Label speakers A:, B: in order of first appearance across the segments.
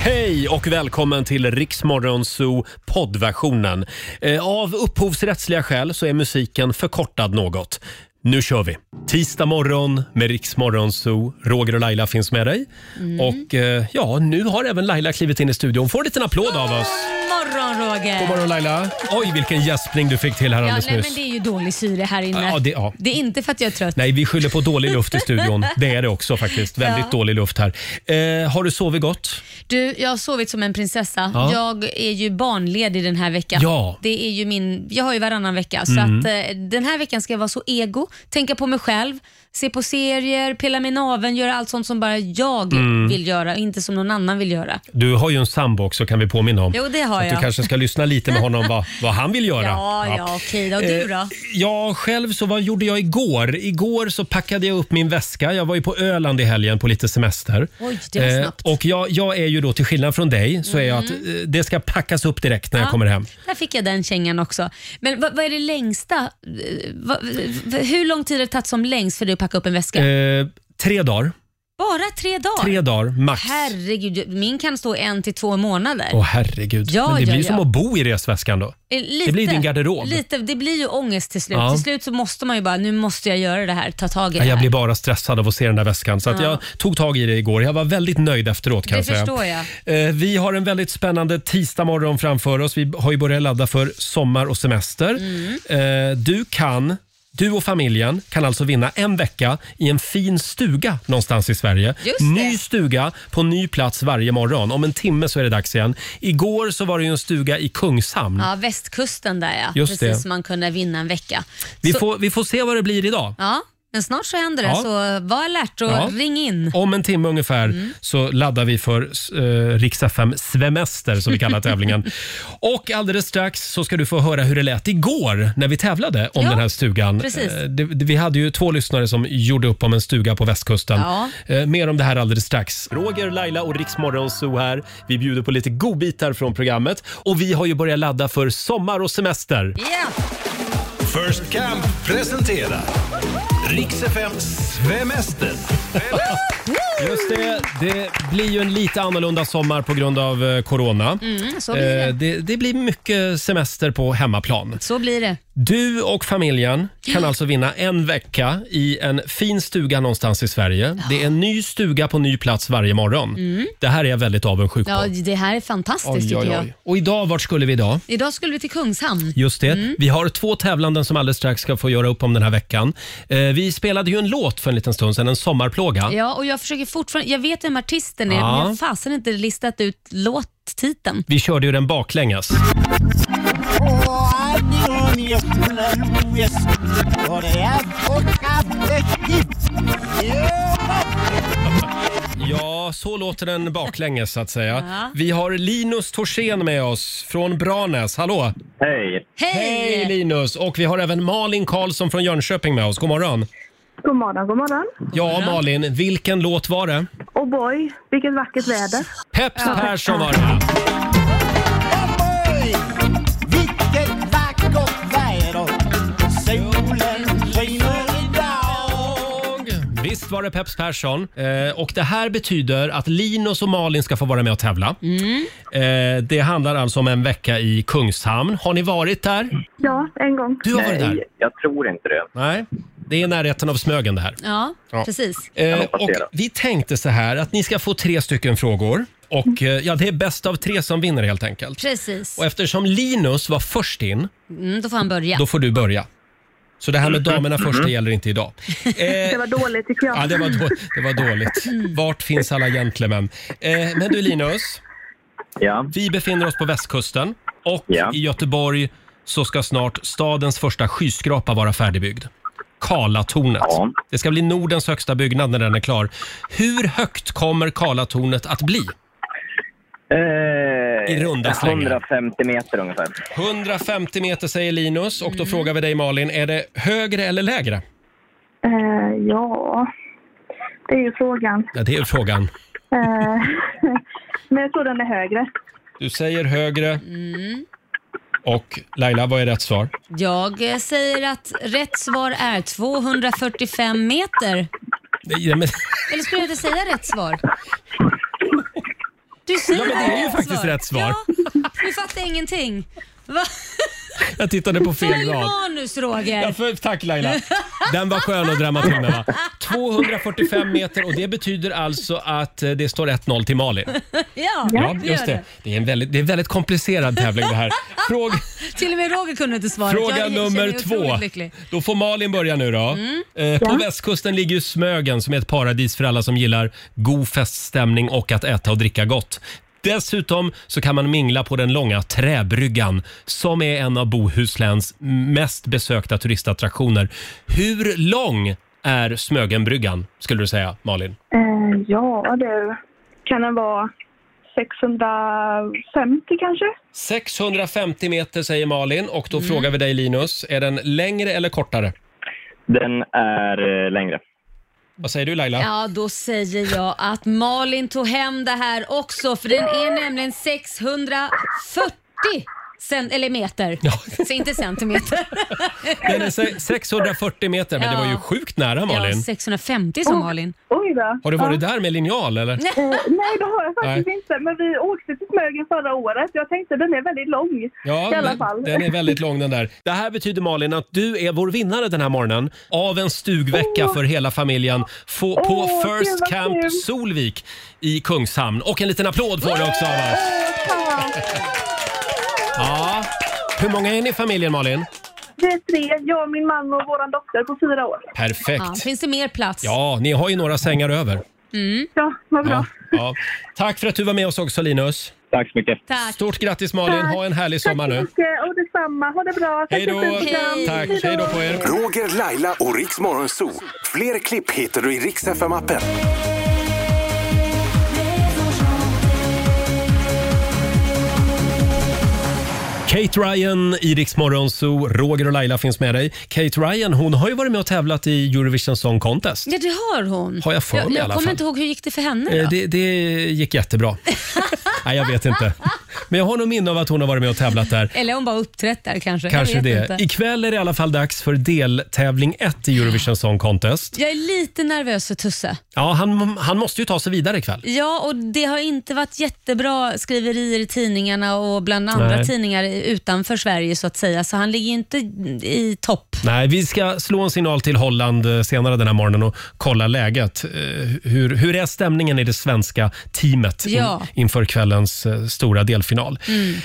A: Hej och välkommen till Riksmorgon Zoo poddversionen. Eh, Av upphovsrättsliga skäl så är musiken förkortad något. Nu kör vi! Tisdag morgon med Riksmorgon Zoo. Roger och Laila finns med dig.
B: Mm.
A: Och eh, ja, nu har även Laila klivit in i studion. Får en liten applåd av oss.
B: morgon Roger!
A: God morgon Laila! Oj, vilken gäspning du fick till här
B: Ja,
A: alldeles
B: nej, men
A: nyss.
B: det är ju dålig syre här inne.
A: Ja, det- ja.
B: är inte för att jag är trött.
A: Nej, vi skyller på dålig luft i studion. Det är det också faktiskt. Väldigt
B: Ja.
A: dålig luft här. Eh, har du sovit gott?
B: Du, jag har sovit som en prinsessa.
A: Ja.
B: Jag är ju barnledig den här veckan.
A: Ja. Mm.
B: Det är ju min, jag har ju varannan vecka, så att, eh, den här veckan ska jag vara så ego, tänka på mig själv, se på serier, pilla mig i naveln, göra allt sånt som bara jag
A: Mm.
B: vill göra, inte som någon annan vill göra.
A: Du har ju en sambo också kan vi påminna om.
B: Jo, det har
A: Så att Du
B: jag.
A: kanske ska lyssna lite med honom vad, vad han vill göra.
B: Ja, ja, okej då. Och du
A: Eh,
B: då?
A: Ja, själv så vad gjorde jag igår? Igår så packade jag upp min väska. Jag var ju på Öland i helgen på lite semester.
B: Oj, det var snabbt.
A: Eh,
B: Mm.
A: och jag, jag är ju då till skillnad från dig så är jag att eh, det ska packas upp direkt när jag
B: Ja,
A: kommer hem.
B: Där fick jag den kängan också. Men vad, vad är det längsta? Eh, vad- v- hur lång tid har det tagit som längst för dig att packa upp en väska?
A: Eh, tre dagar,
B: Bara tre dagar?
A: tre dagar max.
B: Herregud, min kan stå en till två månader.
A: Åh herregud.
B: Ja,
A: Men det
B: ja,
A: blir ju
B: ja.
A: som att bo i resväskan då.
B: Eh, Lite,
A: det blir din garderob.
B: Lite, det blir ju ångest till slut.
A: Ja.
B: Till slut så måste man ju bara, nu måste jag göra det här, ta tag i det
A: Ja,
B: här.
A: Jag blir bara stressad av att se den där väskan. Så att
B: Ja.
A: jag tog tag i det igår. Jag var väldigt nöjd efteråt kan
B: Det
A: jag säga.
B: förstår jag.
A: Eh, Vi har en väldigt spännande tisdagmorgon framför oss. Vi har ju börjat ladda för sommar och semester.
B: Mm.
A: Eh, Du kan du och familjen kan alltså vinna en vecka i en fin stuga någonstans i Sverige.
B: Just det.
A: Ny stuga på ny plats varje morgon. Om en timme så är det dags igen. Igår så var det ju en stuga i Kungshamn.
B: Ja, västkusten där ja.
A: Just
B: Precis
A: det.
B: som man kunde vinna en vecka.
A: Vi,
B: så,
A: får, vi får se vad det blir idag.
B: Ja, men snart så händer det,
A: Ja.
B: så var alert och
A: Ja.
B: ring in.
A: Om en timme ungefär
B: Mm.
A: så laddar vi för eh, Rix FM Svemester som vi kallar tävlingen. Och alldeles strax så ska du få höra hur det lät igår när vi tävlade om
B: Ja,
A: den här stugan.
B: precis.
A: Eh, det, det, vi hade ju två lyssnare som gjorde upp om en stuga på västkusten.
B: Ja.
A: Eh, mer om det här alldeles strax. Roger, Laila och Rix Morgonzoo här. Vi bjuder på lite godbitar från programmet och vi har ju börjat ladda för sommar och semester.
B: Ja,
C: First Camp presenterar Rix FMs Svemester.
A: Just det, det blir ju en lite annorlunda sommar på grund av eh, corona.
B: mm, så, blir
A: Eh,
B: det.
A: det, det blir mycket semester på hemmaplan.
B: så blir det.
A: Du och familjen kan alltså vinna en vecka i en fin stuga någonstans i Sverige. Det är en ny stuga på ny plats varje morgon. Det här är jag väldigt avundsjuk på.
B: Mm. Ja, det här är fantastiskt
A: Oj,
B: tycker
A: oj,
B: jag.
A: oj. Och idag, vart skulle vi idag?
B: Idag skulle vi till Kungshamn.
A: Just det.
B: Mm.
A: Vi har två tävlanden som alldeles strax ska få göra upp om den här veckan. Eh, vi spelade ju en låt för en liten stund sedan, en sommarplåga.
B: Ja, och jag försöker fortfarande, jag vet vem artisten är,
A: Ja.
B: men jag har fasen inte listat ut låttiteln.
A: Vi körde ju den baklänges. Ja, så låter den baklänges så att säga.
B: Ja.
A: Vi har Linus Torssén med oss från Branäs. Hallå!
D: Hej!
B: Hej!
A: Hej Linus! Och vi har även Malin Karlsson från Jönköping med oss. God morgon!
E: God morgon, god morgon.
A: Ja, Malin, vilken låt var det?
E: Oh boy, vilket vackert väder.
A: Peps Persson var det!
F: Oj, vilket vackert väder Solen skiner idag
A: Och Visst var det Peps Persson. Eh, och det här betyder att Linus och Malin ska få vara med och tävla.
E: Mm.
A: Eh, det handlar alltså om en vecka i Kungshamn. Har ni varit där?
E: Ja, en gång.
A: Du har varit där?
D: Nej, jag tror inte det.
A: Nej. Det är i närheten av Smögen det här.
B: Ja,
A: Ja.
B: precis.
A: Eh,
D: hoppas det
A: och
D: då.
A: vi tänkte så här att ni ska få tre stycken frågor.
E: Mm.
A: Och eh, ja, det är bäst av tre som vinner helt enkelt.
B: Precis.
A: Och eftersom Linus var först in,
B: Mm, då får han börja.
A: då får du börja. Så det här med damerna först, det gäller inte idag. Eh,
E: Det var dåligt tycker jag.
A: Ja, det var, då, det var dåligt. Vart finns alla gentlemän? Eh, men du Linus,
D: Ja.
A: vi befinner oss på västkusten och
D: Ja.
A: i Göteborg så ska snart stadens första skyskrapa vara färdigbyggd. Karlatornet.
D: Ja.
A: Det ska bli Nordens högsta byggnad när den är klar. Hur högt kommer Karlatornet att bli?
D: Eh,
A: I runda slängar.
D: 150 meter ungefär.
A: 150 meter säger Linus och då frågar vi dig Malin, är det högre eller lägre?
E: Eh, ja, det är ju frågan.
A: Ja, det är frågan.
E: Eh, men jag tror den är högre.
A: Du säger högre. Mm. Och Laila, vad är rätt svar?
B: Jag eh, säger att rätt svar är 245 meter.
A: Nej, men-
B: Eller skulle jag inte säga rätt svar? Du säger
A: Ja, men det är ju faktiskt rätt svar.
B: Ja, du fattar ingenting. Va?
A: Jag tittade på
B: Vad
A: fel
B: är
A: rad.
B: manus Roger?
A: Ja, för, tack Laila. Den var skön att drämma till med va? 245 meter och det betyder alltså att eh, det står 1-0 till Malin.
B: Ja,
A: Ja,
B: vi
A: just
B: gör
A: det. Det är en väldigt, det är en väldigt komplicerad tävling det här. Fråg,
B: Till och med Roger kunde inte svaret. Jag
A: fråga
B: känner mig
A: nummer
B: otroligt
A: två.
B: lycklig. Mm.
A: Då får Malin börja nu då. Eh, på västkusten ligger ju Smögen som är ett paradis för alla som gillar god feststämning och att äta och dricka gott. Dessutom så kan man mingla på den långa träbryggan som är en av Bohusläns mest besökta turistattraktioner. Hur lång är Smögenbryggan skulle du säga Malin?
E: Eh, ja du, kan den vara 650 kanske?
A: 650 meter säger Malin och då
B: Mm.
A: frågar vi dig Linus, är den längre eller kortare?
D: Den är eh, längre.
A: Vad säger du Laila?
B: Ja, då säger jag att Malin tog hem det här också för den är nämligen 640 cent eller meter. Så inte centimeter.
A: Den är se- 640 meter, men det var ju
B: Ja.
A: sjukt nära
B: Ja,
A: Malin.
B: 650 som Malin.
E: Oj då.
A: Har du varit där med linjal eller?
E: Ja. Eh, nej, det har jag faktiskt
A: Nej.
E: inte. Men vi åkte till Smögen förra året. Jag tänkte den är väldigt lång.
A: Ja,
E: I alla
A: den-
E: fall.
A: den är väldigt lång den där. Det här betyder Malin att du är vår vinnare den här morgonen av en stugvecka för hela familjen få, på
E: Åh, gud,
A: First
E: vad
A: Camp
E: kul.
A: Solvik i Kungshamn. Och en liten applåd får du också av oss. Ja. Hur många är ni i familjen Malin?
E: Vi är tre, jag, min man och vår dotter på fyra år.
B: Ja,
A: Perfekt.
B: finns det mer plats?
A: Ja, ni har ju några sängar över.
E: Ja, vad bra.
A: Ja, ja. Tack för att du var med oss också Linus.
D: Tack så mycket.
B: Tack.
A: Stort grattis Malin, ha en härlig sommar nu.
E: Tack så mycket och detsamma. Ha det bra. Tack
A: Hej då!
E: för ett fint program.
A: Tack, hej då på er!
G: Roger, Laila och Riks Morgonzoo. Fler klipp hittar du i Riks FM-appen.
A: Kate Ryan i Rix Morgon Zoo, Roger och Laila finns med dig. Kate Ryan hon har ju varit med och tävlat i Eurovision Song Contest.
B: Ja, det har hon.
A: Har jag för mig
B: jag,
A: i alla
B: kommer
A: fall.
B: inte ihåg hur gick det för henne.
A: Eh,
B: Då.
A: Det, det gick jättebra. Nej, jag vet inte. Men jag har nog minne av att hon har varit med och tävlat där.
B: Eller hon bara uppträtt där kanske.
A: Kanske
B: jag vet
A: det.
B: Inte.
A: Ikväll är det i alla fall dags för deltävling 1 i Eurovision Song Contest.
B: Jag är lite nervös för Tusse.
A: Ja, han, han måste ju ta sig vidare ikväll.
B: Ja, och det har inte varit jättebra skriverier i tidningarna och bland andra
A: Nej.
B: tidningar utanför Sverige så att säga. Så han ligger ju inte i topp.
A: Nej, vi ska slå en signal till Holland eh, senare den här morgonen och kolla läget. Eh, Hur, hur är stämningen i det svenska teamet
B: Ja.
A: in, inför kvällens eh, stora delfinal?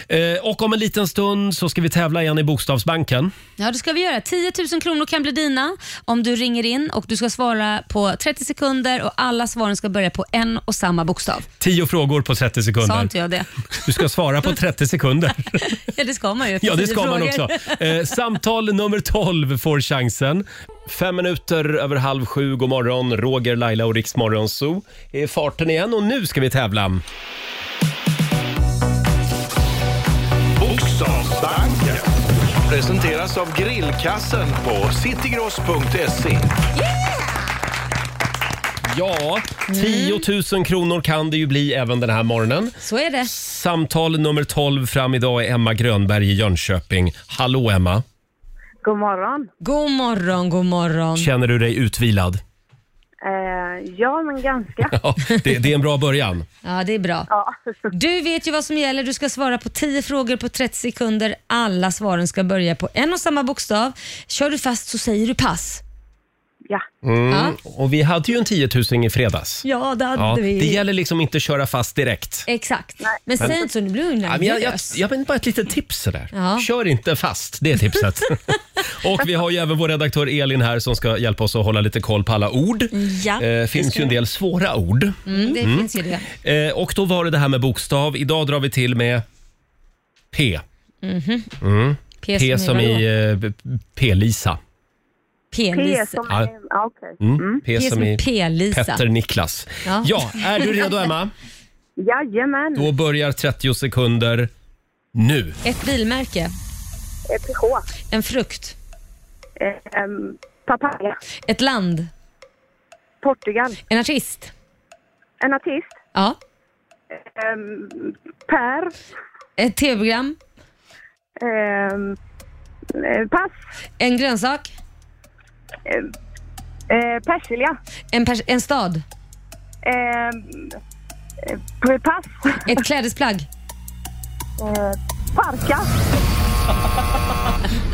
A: Eh, Och om en liten stund så ska vi tävla igen i Bokstavsbanken.
B: Ja, det ska vi göra. 10 000 kronor kan bli dina om du ringer in och du ska svara på 30 sekunder och alla svaren ska börja på en och samma bokstav.
A: Tio frågor på 30
B: Sa
A: sekunder.
B: inte jag det?
A: Du ska svara på 30 sekunder.
B: Ja, det ska man ju. efter
A: Ja, det
B: tio
A: ska man
B: frågor.
A: också. Eh, samtal nummer 12 får chansen. Fem minuter över halv sju. God morgon, Roger, Laila och Riksmorgon Zoo. är i farten igen och nu ska vi tävla.
C: Bokstavsbanken presenteras av Grillkassen på citygross.se.
A: Ja, 10 000 kronor kan det ju bli även den här morgonen.
B: Så är det.
A: Samtal nummer 12 fram idag är Emma Grönberg i Jönköping. Hallå Emma,
E: God morgon.
B: God morgon, god morgon.
A: känner du dig utvilad?
E: Eh, ja, men ganska.
A: Ja, det, det är en bra början.
B: Ja, det är bra. Du vet ju vad som gäller. Du ska svara på 10 frågor på 30 sekunder. Alla svaren ska börja på en och samma bokstav. Kör du fast så säger du pass.
E: Ja.
B: Ja,
A: Mm. Och vi hade ju en 10 000 i fredags.
B: ja det hade
A: Ja,
B: vi.
A: det gäller liksom inte att köra fast direkt.
B: Exakt. Men säg inte så, nu blir du
A: Ja, men jag, jag,
B: nervös.
A: jag vill bara ett litet tips sådär.
B: Ja.
A: Kör inte fast, det är tipset. och vi har ju även vår redaktör Elin här som ska hjälpa oss att hålla lite koll på alla ord.
B: Mm. Ja,
A: eh, finns ju en del svåra ord.
B: Mm, det finns ju det.
A: Eh, och då var det det här med bokstav. Idag drar vi till med P.
B: P,
A: P som
B: vadå?
A: i eh, P-Lisa.
E: P
B: P-Lisa.
E: som
A: Ja.
E: är... Ja, okej.
A: Mm. P som i
B: P-Lisa.
A: Petter Niklas. Ja.
B: Ja.
A: är du redo Emma?
E: Jajamän.
A: Då börjar 30 sekunder nu.
B: Ett bilmärke.
E: Eh, PH.
B: En frukt.
E: Eh, ehm, papaya.
B: Ett land.
E: Portugal.
B: En artist.
E: En artist.
B: Ja.
E: Ehm, per.
B: Ett tv-program.
E: Ehm, eh, pass.
B: En grönsak.
E: Ehm, eh, persilja.
B: En, pers- en stad.
E: Ehm, Eh, Pass.
B: Ett klädesplagg.
E: Eh, Parka.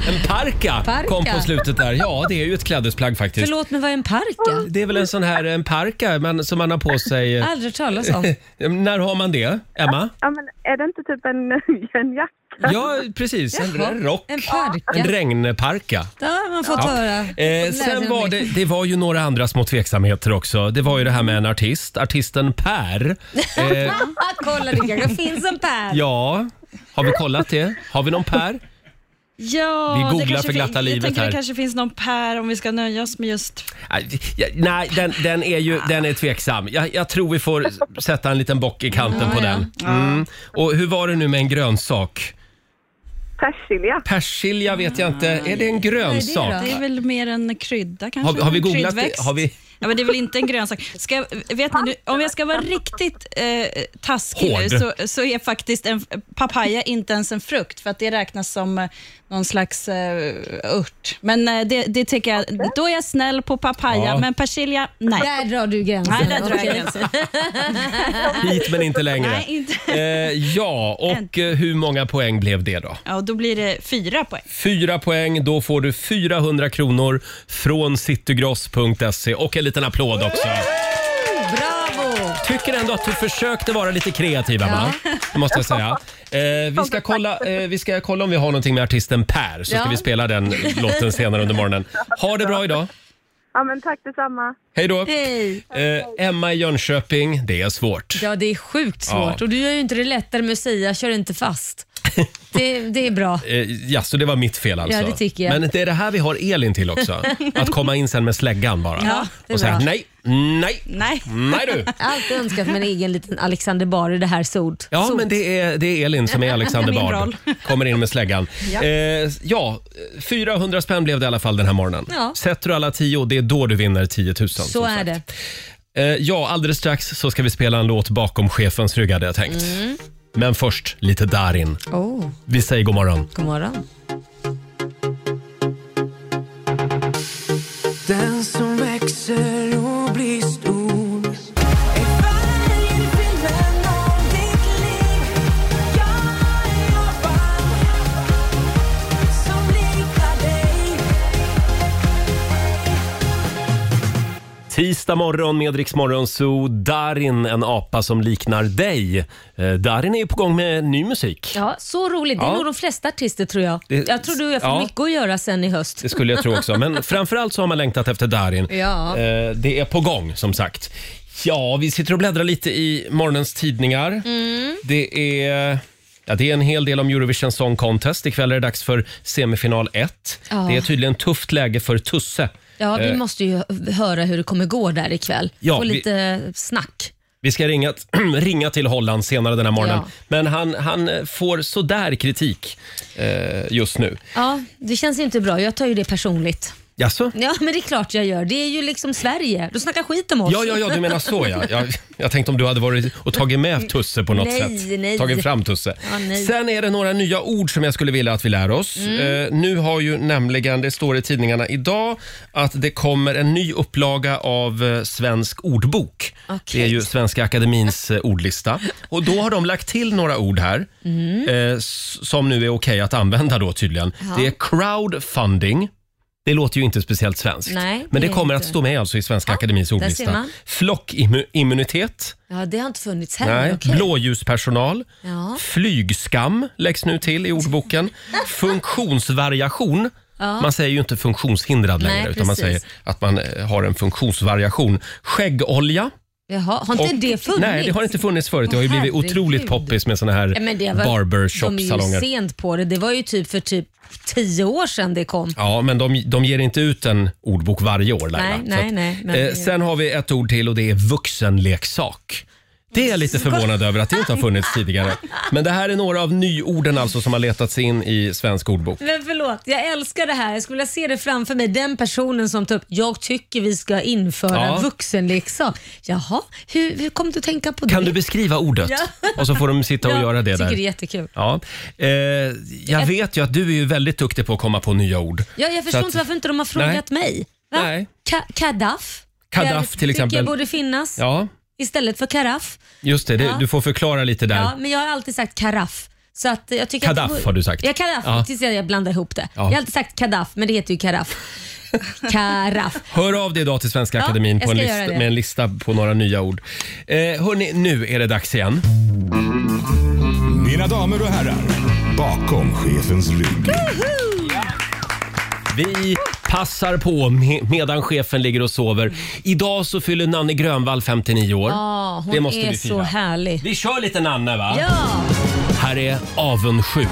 A: En parka,
B: Parka.
A: kom på slutet där. Ja, det är ju ett klädesplagg faktiskt.
B: Förlåt, men vad är en parka?
A: Det är väl en sån här en parka man, som man har på sig. eh,
B: Aldrig hört talas om.
A: När har man det, Emma?
E: Ja, men är det inte typ en, en jacka?
A: Ja, precis. En
B: Äh. Jaha,
A: r- rock.
B: En
A: En
B: parka.
A: regnparka.
B: Det har man fått höra.
A: Eh,
B: Lära sig
A: sen
B: något
A: var
B: nytt.
A: det, det var ju några andra små tveksamheter också. Det var ju det här med en artist, artisten Per. Eh,
B: Ah, kolla, det kanske finns en Per.
A: ja, har vi kollat det? Har vi någon Per?
H: Ja,
A: Vi
H: det
A: googlar
H: kanske
A: för glatta
H: fin-
A: livet
H: Jag tänker
A: här.
H: det kanske finns någon Per om vi ska nöja oss med just...
A: Nej, Äh, ja, Nej, den, den är ju den är tveksam. Jag, jag tror vi får s- sätta en liten bock i kanten på
H: Ja,
A: den. Mm. Och hur var det nu med en grönsak?
E: Persilja.
A: Persilja vet jag inte. Är det en grönsak?
H: Det är väl mer en krydda kanske?
A: Har, vi- har vi
H: en
A: googlat det?
H: kryddväxt.
A: Har vi...
H: Ja, men det är väl inte en grönsak. Ska, jag- vet ni, nu, om jag ska vara riktigt eh, taskig nu,
A: Hård.
H: så, så är faktiskt en papaya inte ens en frukt, för att det räknas som eh, någon slags eh, ört. Men eh, det, det tycker jag, då är jag snäll på papaya,
A: Ja.
H: men persilja, nej.
B: Där drar du gränsen.
H: Nej, där drar jag
B: Okej.
H: gränsen.
A: Hit men inte längre.
H: Nej, inte.
A: Eh, ja, och eh, hur många poäng blev det då?
H: Ja, och då blir det fyra poäng.
A: Fyra poäng, då får du 400 kronor från citygross.se och en liten applåd också.
B: Bravo!
A: Tycker ändå att du försökte vara lite kreativ, Emma. Det måste jag säga. Eh, vi, ska kolla, eh, vi ska kolla om vi har någonting med artisten Per, så ska
B: Ja.
A: vi spela den låten senare under morgonen. Ha det bra idag.
E: Ja, men tack detsamma.
A: Hej då.
B: Hej.
A: Eh, Emma i Jönköping, det är svårt.
B: Ja, det är sjukt svårt.
A: Ja.
B: Och du gör ju inte det lättare med att säga kör inte fast. Det, det är bra.
A: Eh, ja, så det var mitt fel alltså.
B: Ja, det tycker jag.
A: Men det är det här vi har Elin till också. Att komma in sen med släggan bara.
B: Ja, det är
A: och säga
B: bra.
A: nej, nej,
H: Nej.
A: nej du.
B: Alltid önskat mig en egen liten Alexander Bard i det här sod.
A: Ja,
B: sod.
A: men det är, det är Elin som är Alexander
H: Min
A: Bard.
H: roll.
A: Kommer in med släggan. ja.
H: Ja.
A: Eh, ja, 400 spänn blev det i alla fall den här morgonen.
B: Ja.
A: Sätter du alla 10, det är då du vinner 10 000.
B: Så
A: som
B: är
A: sagt.
B: det.
A: Eh, ja, alldeles strax så ska vi spela en låt bakom chefens rygg hade jag tänkt. Men först lite Darin.
B: Mm. Oh,
A: Vi säger god morgon.
B: god morgon.
F: Den som växer och blir stor
A: Tisdag morgon med Rix Morgon Zoo. Darin, en apa som liknar dig. Eh, Darin är ju på gång med ny musik.
B: Ja, så roligt. Det är
A: Ja.
B: nog de flesta artister tror jag.
A: Det-
B: Jag tror du jag får
A: ja.
B: mycket att göra sen i höst.
A: Det skulle jag tro också. Men framförallt så har man längtat efter Darin.
B: Ja.
A: Eh, det är på gång som sagt. Ja, vi sitter och bläddrar lite i morgonens tidningar.
B: Mm.
A: Det är... Ja, det är en hel del om Eurovision Song Contest. Ikväll är det dags för semifinal 1.
B: Ja.
A: Det är tydligen tufft läge för Tusse.
B: Ja, vi
A: Eh,
B: måste ju höra hur det kommer gå där ikväll.
A: Ja,
B: Få
A: vi-
B: lite snack.
A: Vi ska ringa, ringa till Holland senare den här morgonen.
B: Ja.
A: Men han, han eh, får sådär kritik eh, just nu.
B: Ja, det känns ju inte bra. Jag tar ju det personligt.
A: Jaså?
B: Ja, men det är klart jag gör. Det är ju liksom Sverige. Du snackar skit om oss.
A: Ja, ja, ja, du menar så ja. Jag, jag tänkte om du hade varit och tagit med Tusse på något
B: Mm. Nej,
A: sätt.
B: nej.
A: Tagit fram Tusse.
B: Ja, nej. Mm.
A: Sen är det några nya ord som jag skulle vilja att vi lär oss. Eh, nu har ju nämligen, det står i tidningarna idag, att det kommer en ny upplaga av eh, Svensk ordbok. Det är ju Svenska Akademins eh, ordlista. Och då har de lagt till några ord här
B: Mm.
A: eh, s- som nu är okej att använda då tydligen. Det är crowdfunding. Det låter ju inte speciellt svenskt,
B: Nej, det
A: men det
B: är
A: kommer
B: inte.
A: att stå med alltså i Svenska Akademins
B: ser
A: ordlista.
B: man.
A: Flockimmunitet,
B: Ja, det har inte funnits
A: nej.
B: heller. Okej.
A: blåljuspersonal,
B: Ja.
A: flygskam läggs nu till i ordboken. Funktionsvariation, man säger ju inte funktionshindrad
B: Nej,
A: längre utan man säger
B: precis.
A: att man eh, har en funktionsvariation. Skäggolja,
B: Jaha, har inte
A: Och-
B: det funnits?
A: nej det har inte funnits förut. Det har ju
B: Åh,
A: blivit otroligt
B: herregud.
A: poppis med såna här
B: Ja, men det var, De är ju
A: barbershop-salonger.
B: sent på det. Det var ju typ för typ tio år sedan det kom.
A: Ja, men de, de ger inte ut en ordbok varje år Laila.
B: Nej,
A: Så
B: nej,
A: att-
B: nej, men-
A: eh, sen har vi ett ord till och det är vuxenleksak. Det är jag lite förvånad över att det inte har funnits tidigare. Men det här är några av nyorden alltså som har letat sig in i svensk ordbok.
B: Men förlåt, jag älskar det här. Jag skulle vilja se det framför mig. Den personen som tar upp, jag tycker vi ska införa
A: Ja.
B: vuxenleksak. Jaha, hur, hur kom du att tänka på
A: Kan
B: det?
A: du beskriva ordet?
B: Ja.
A: Och så får de sitta och göra det
B: Jag tycker det är
A: där.
B: jättekul.
A: Ja. Eh, jag vet ju att du är ju väldigt duktig på att komma på nya ord.
B: Ja, jag förstår
A: att-
B: inte varför inte de har frågat mig. Va?
A: Nej.
B: Ka- Kadaff?
A: Kadaff
B: Jag
A: till exempel.
B: tycker jag borde finnas.
A: Ja.
B: istället för karaff.
A: Just det, det
B: Ja.
A: du får förklara lite där.
B: Ja, men jag har alltid sagt karaff. Så att jag tycker
A: Kadaff
B: att det-
A: har du sagt.
B: Ja, kadaff.
A: Ja.
B: Tills jag jag blandar ihop det.
A: Ja.
B: Jag har alltid sagt kadaff, men det heter ju karaff. karaff.
A: Hör av dig idag till Svenska
B: Ja,
A: Akademin
B: jag
A: på en
B: ska
A: lista,
B: göra det.
A: med en lista på några nya ord. Eh, hörni, nu är det dags igen.
I: Mina damer och herrar, bakom chefens rygg.
A: Vi passar på me- medan chefen ligger och sover. Idag så fyller Nanne Grönvall 59 år.
B: Ja, hon
A: det måste
B: är
A: vi
B: så
A: fira.
B: härlig.
A: Vi kör lite Nanne va?
B: Ja!
A: Här är Avundsjuk.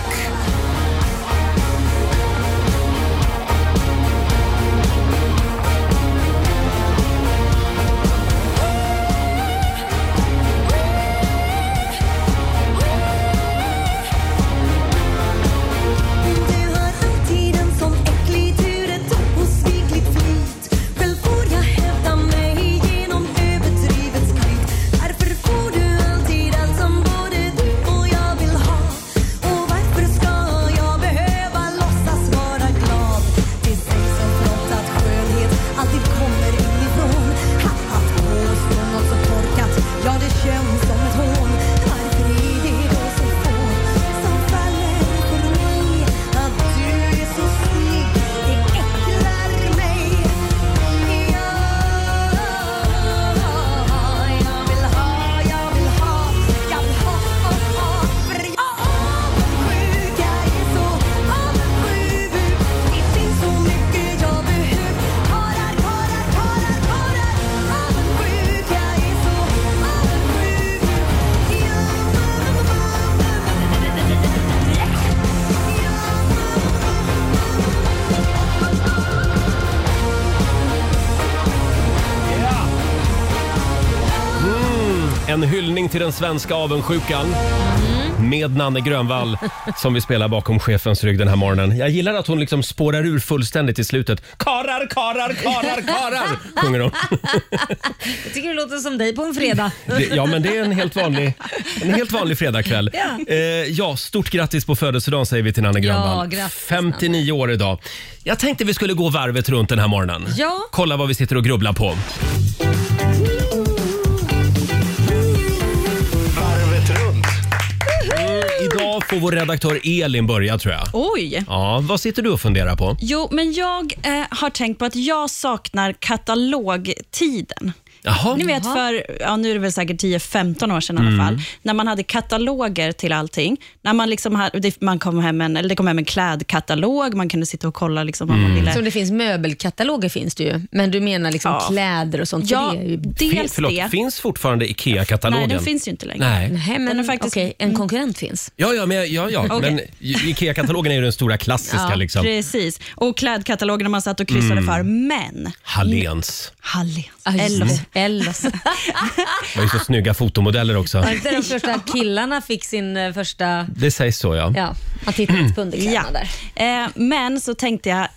F: Du har alltid en sån äcklig tur, ett osvikligt flyt. Själv får jag hävda mig genom överdrivet skryt. Varför får du alltid allt som både du och jag vill ha? Och varför ska jag behöva låtsas vara glad? Det sägs så flott att skönhet alltid kommer inifrån. Haha, två från något så korkat, ja det känns som ett hån. Varför är det då så få som faller för mig? Att du är så snygg, det äcklar mig. Ja, jag vill ha, jag vill ha, jag vill ha, ha, ha. För jag är avundsjuk, jag är så avundsjuk. Det finns så mycket jag behöver. Karlar, karlar, karlar, karlar. Avundsjuk, jag är så avundsjuk. Ja, mamma,
A: En hyllning till den svenska avundsjukan. Mm. Med Nanne Grönvall som vi spelar bakom chefens rygg den här morgonen. Jag gillar att hon liksom spårar ur fullständigt i slutet. Karar, karar, karar, karar, sjunger hon.
B: Jag tycker det låter som dig på en fredag.
A: Det, ja, men det är en helt vanlig, en helt vanlig fredagkväll.
B: Ja.
A: Eh, ja, stort grattis på födelsedagen säger vi till Nanne Grönvall.
B: grattis,
A: 59 år idag. Jag tänkte vi skulle gå varvet runt den här morgonen.
B: Ja.
A: Kolla vad vi sitter och grubblar på.
C: Varvet runt.
A: Eh, Idag får vår redaktör Elin börja tror jag.
H: Oj!
A: Ja, vad sitter du och funderar på?
H: Jo, men jag eh, har tänkt på att jag saknar katalogtiden.
A: Jaha.
H: Ni vet för, ja, nu är det väl säkert 10-15 år sedan i
B: Mm.
H: alla fall, när man hade kataloger till allting. När man liksom hade, det, man kom hem en, eller det kom hem en klädkatalog, man kunde sitta och kolla liksom vad man ville.
B: Som Mm. det finns möbelkataloger finns det ju. Men du menar liksom
H: Ja.
B: kläder och sånt? för
H: Ja,
B: det är ju...
A: Fin,
H: dels
A: förlåt,
H: det.
A: finns fortfarande IKEA-katalogen?
H: Nej, den finns ju inte längre.
A: Nej.
B: Nej, men
H: Den är faktiskt-
B: okej, en konkurrent finns.
A: Ja, ja, men, ja, ja.
H: Okej.
A: men IKEA-katalogen är ju den stora klassiska
B: Ja,
A: liksom.
H: Precis. Och klädkatalogerna man satt och kryssade för. Men,
A: Halléns.
H: Halléns.
B: Mm. Ja, just det.
H: Ellos.
B: Ellos.
A: Det var ju så snygga fotomodeller också.
B: Var det inte de första killarna fick sin eh, första... Mm.
A: Det sägs så ja.
B: Ja, man tittar inte på
H: Ja.
B: underkläderna där.
H: Eh, men så tänkte jag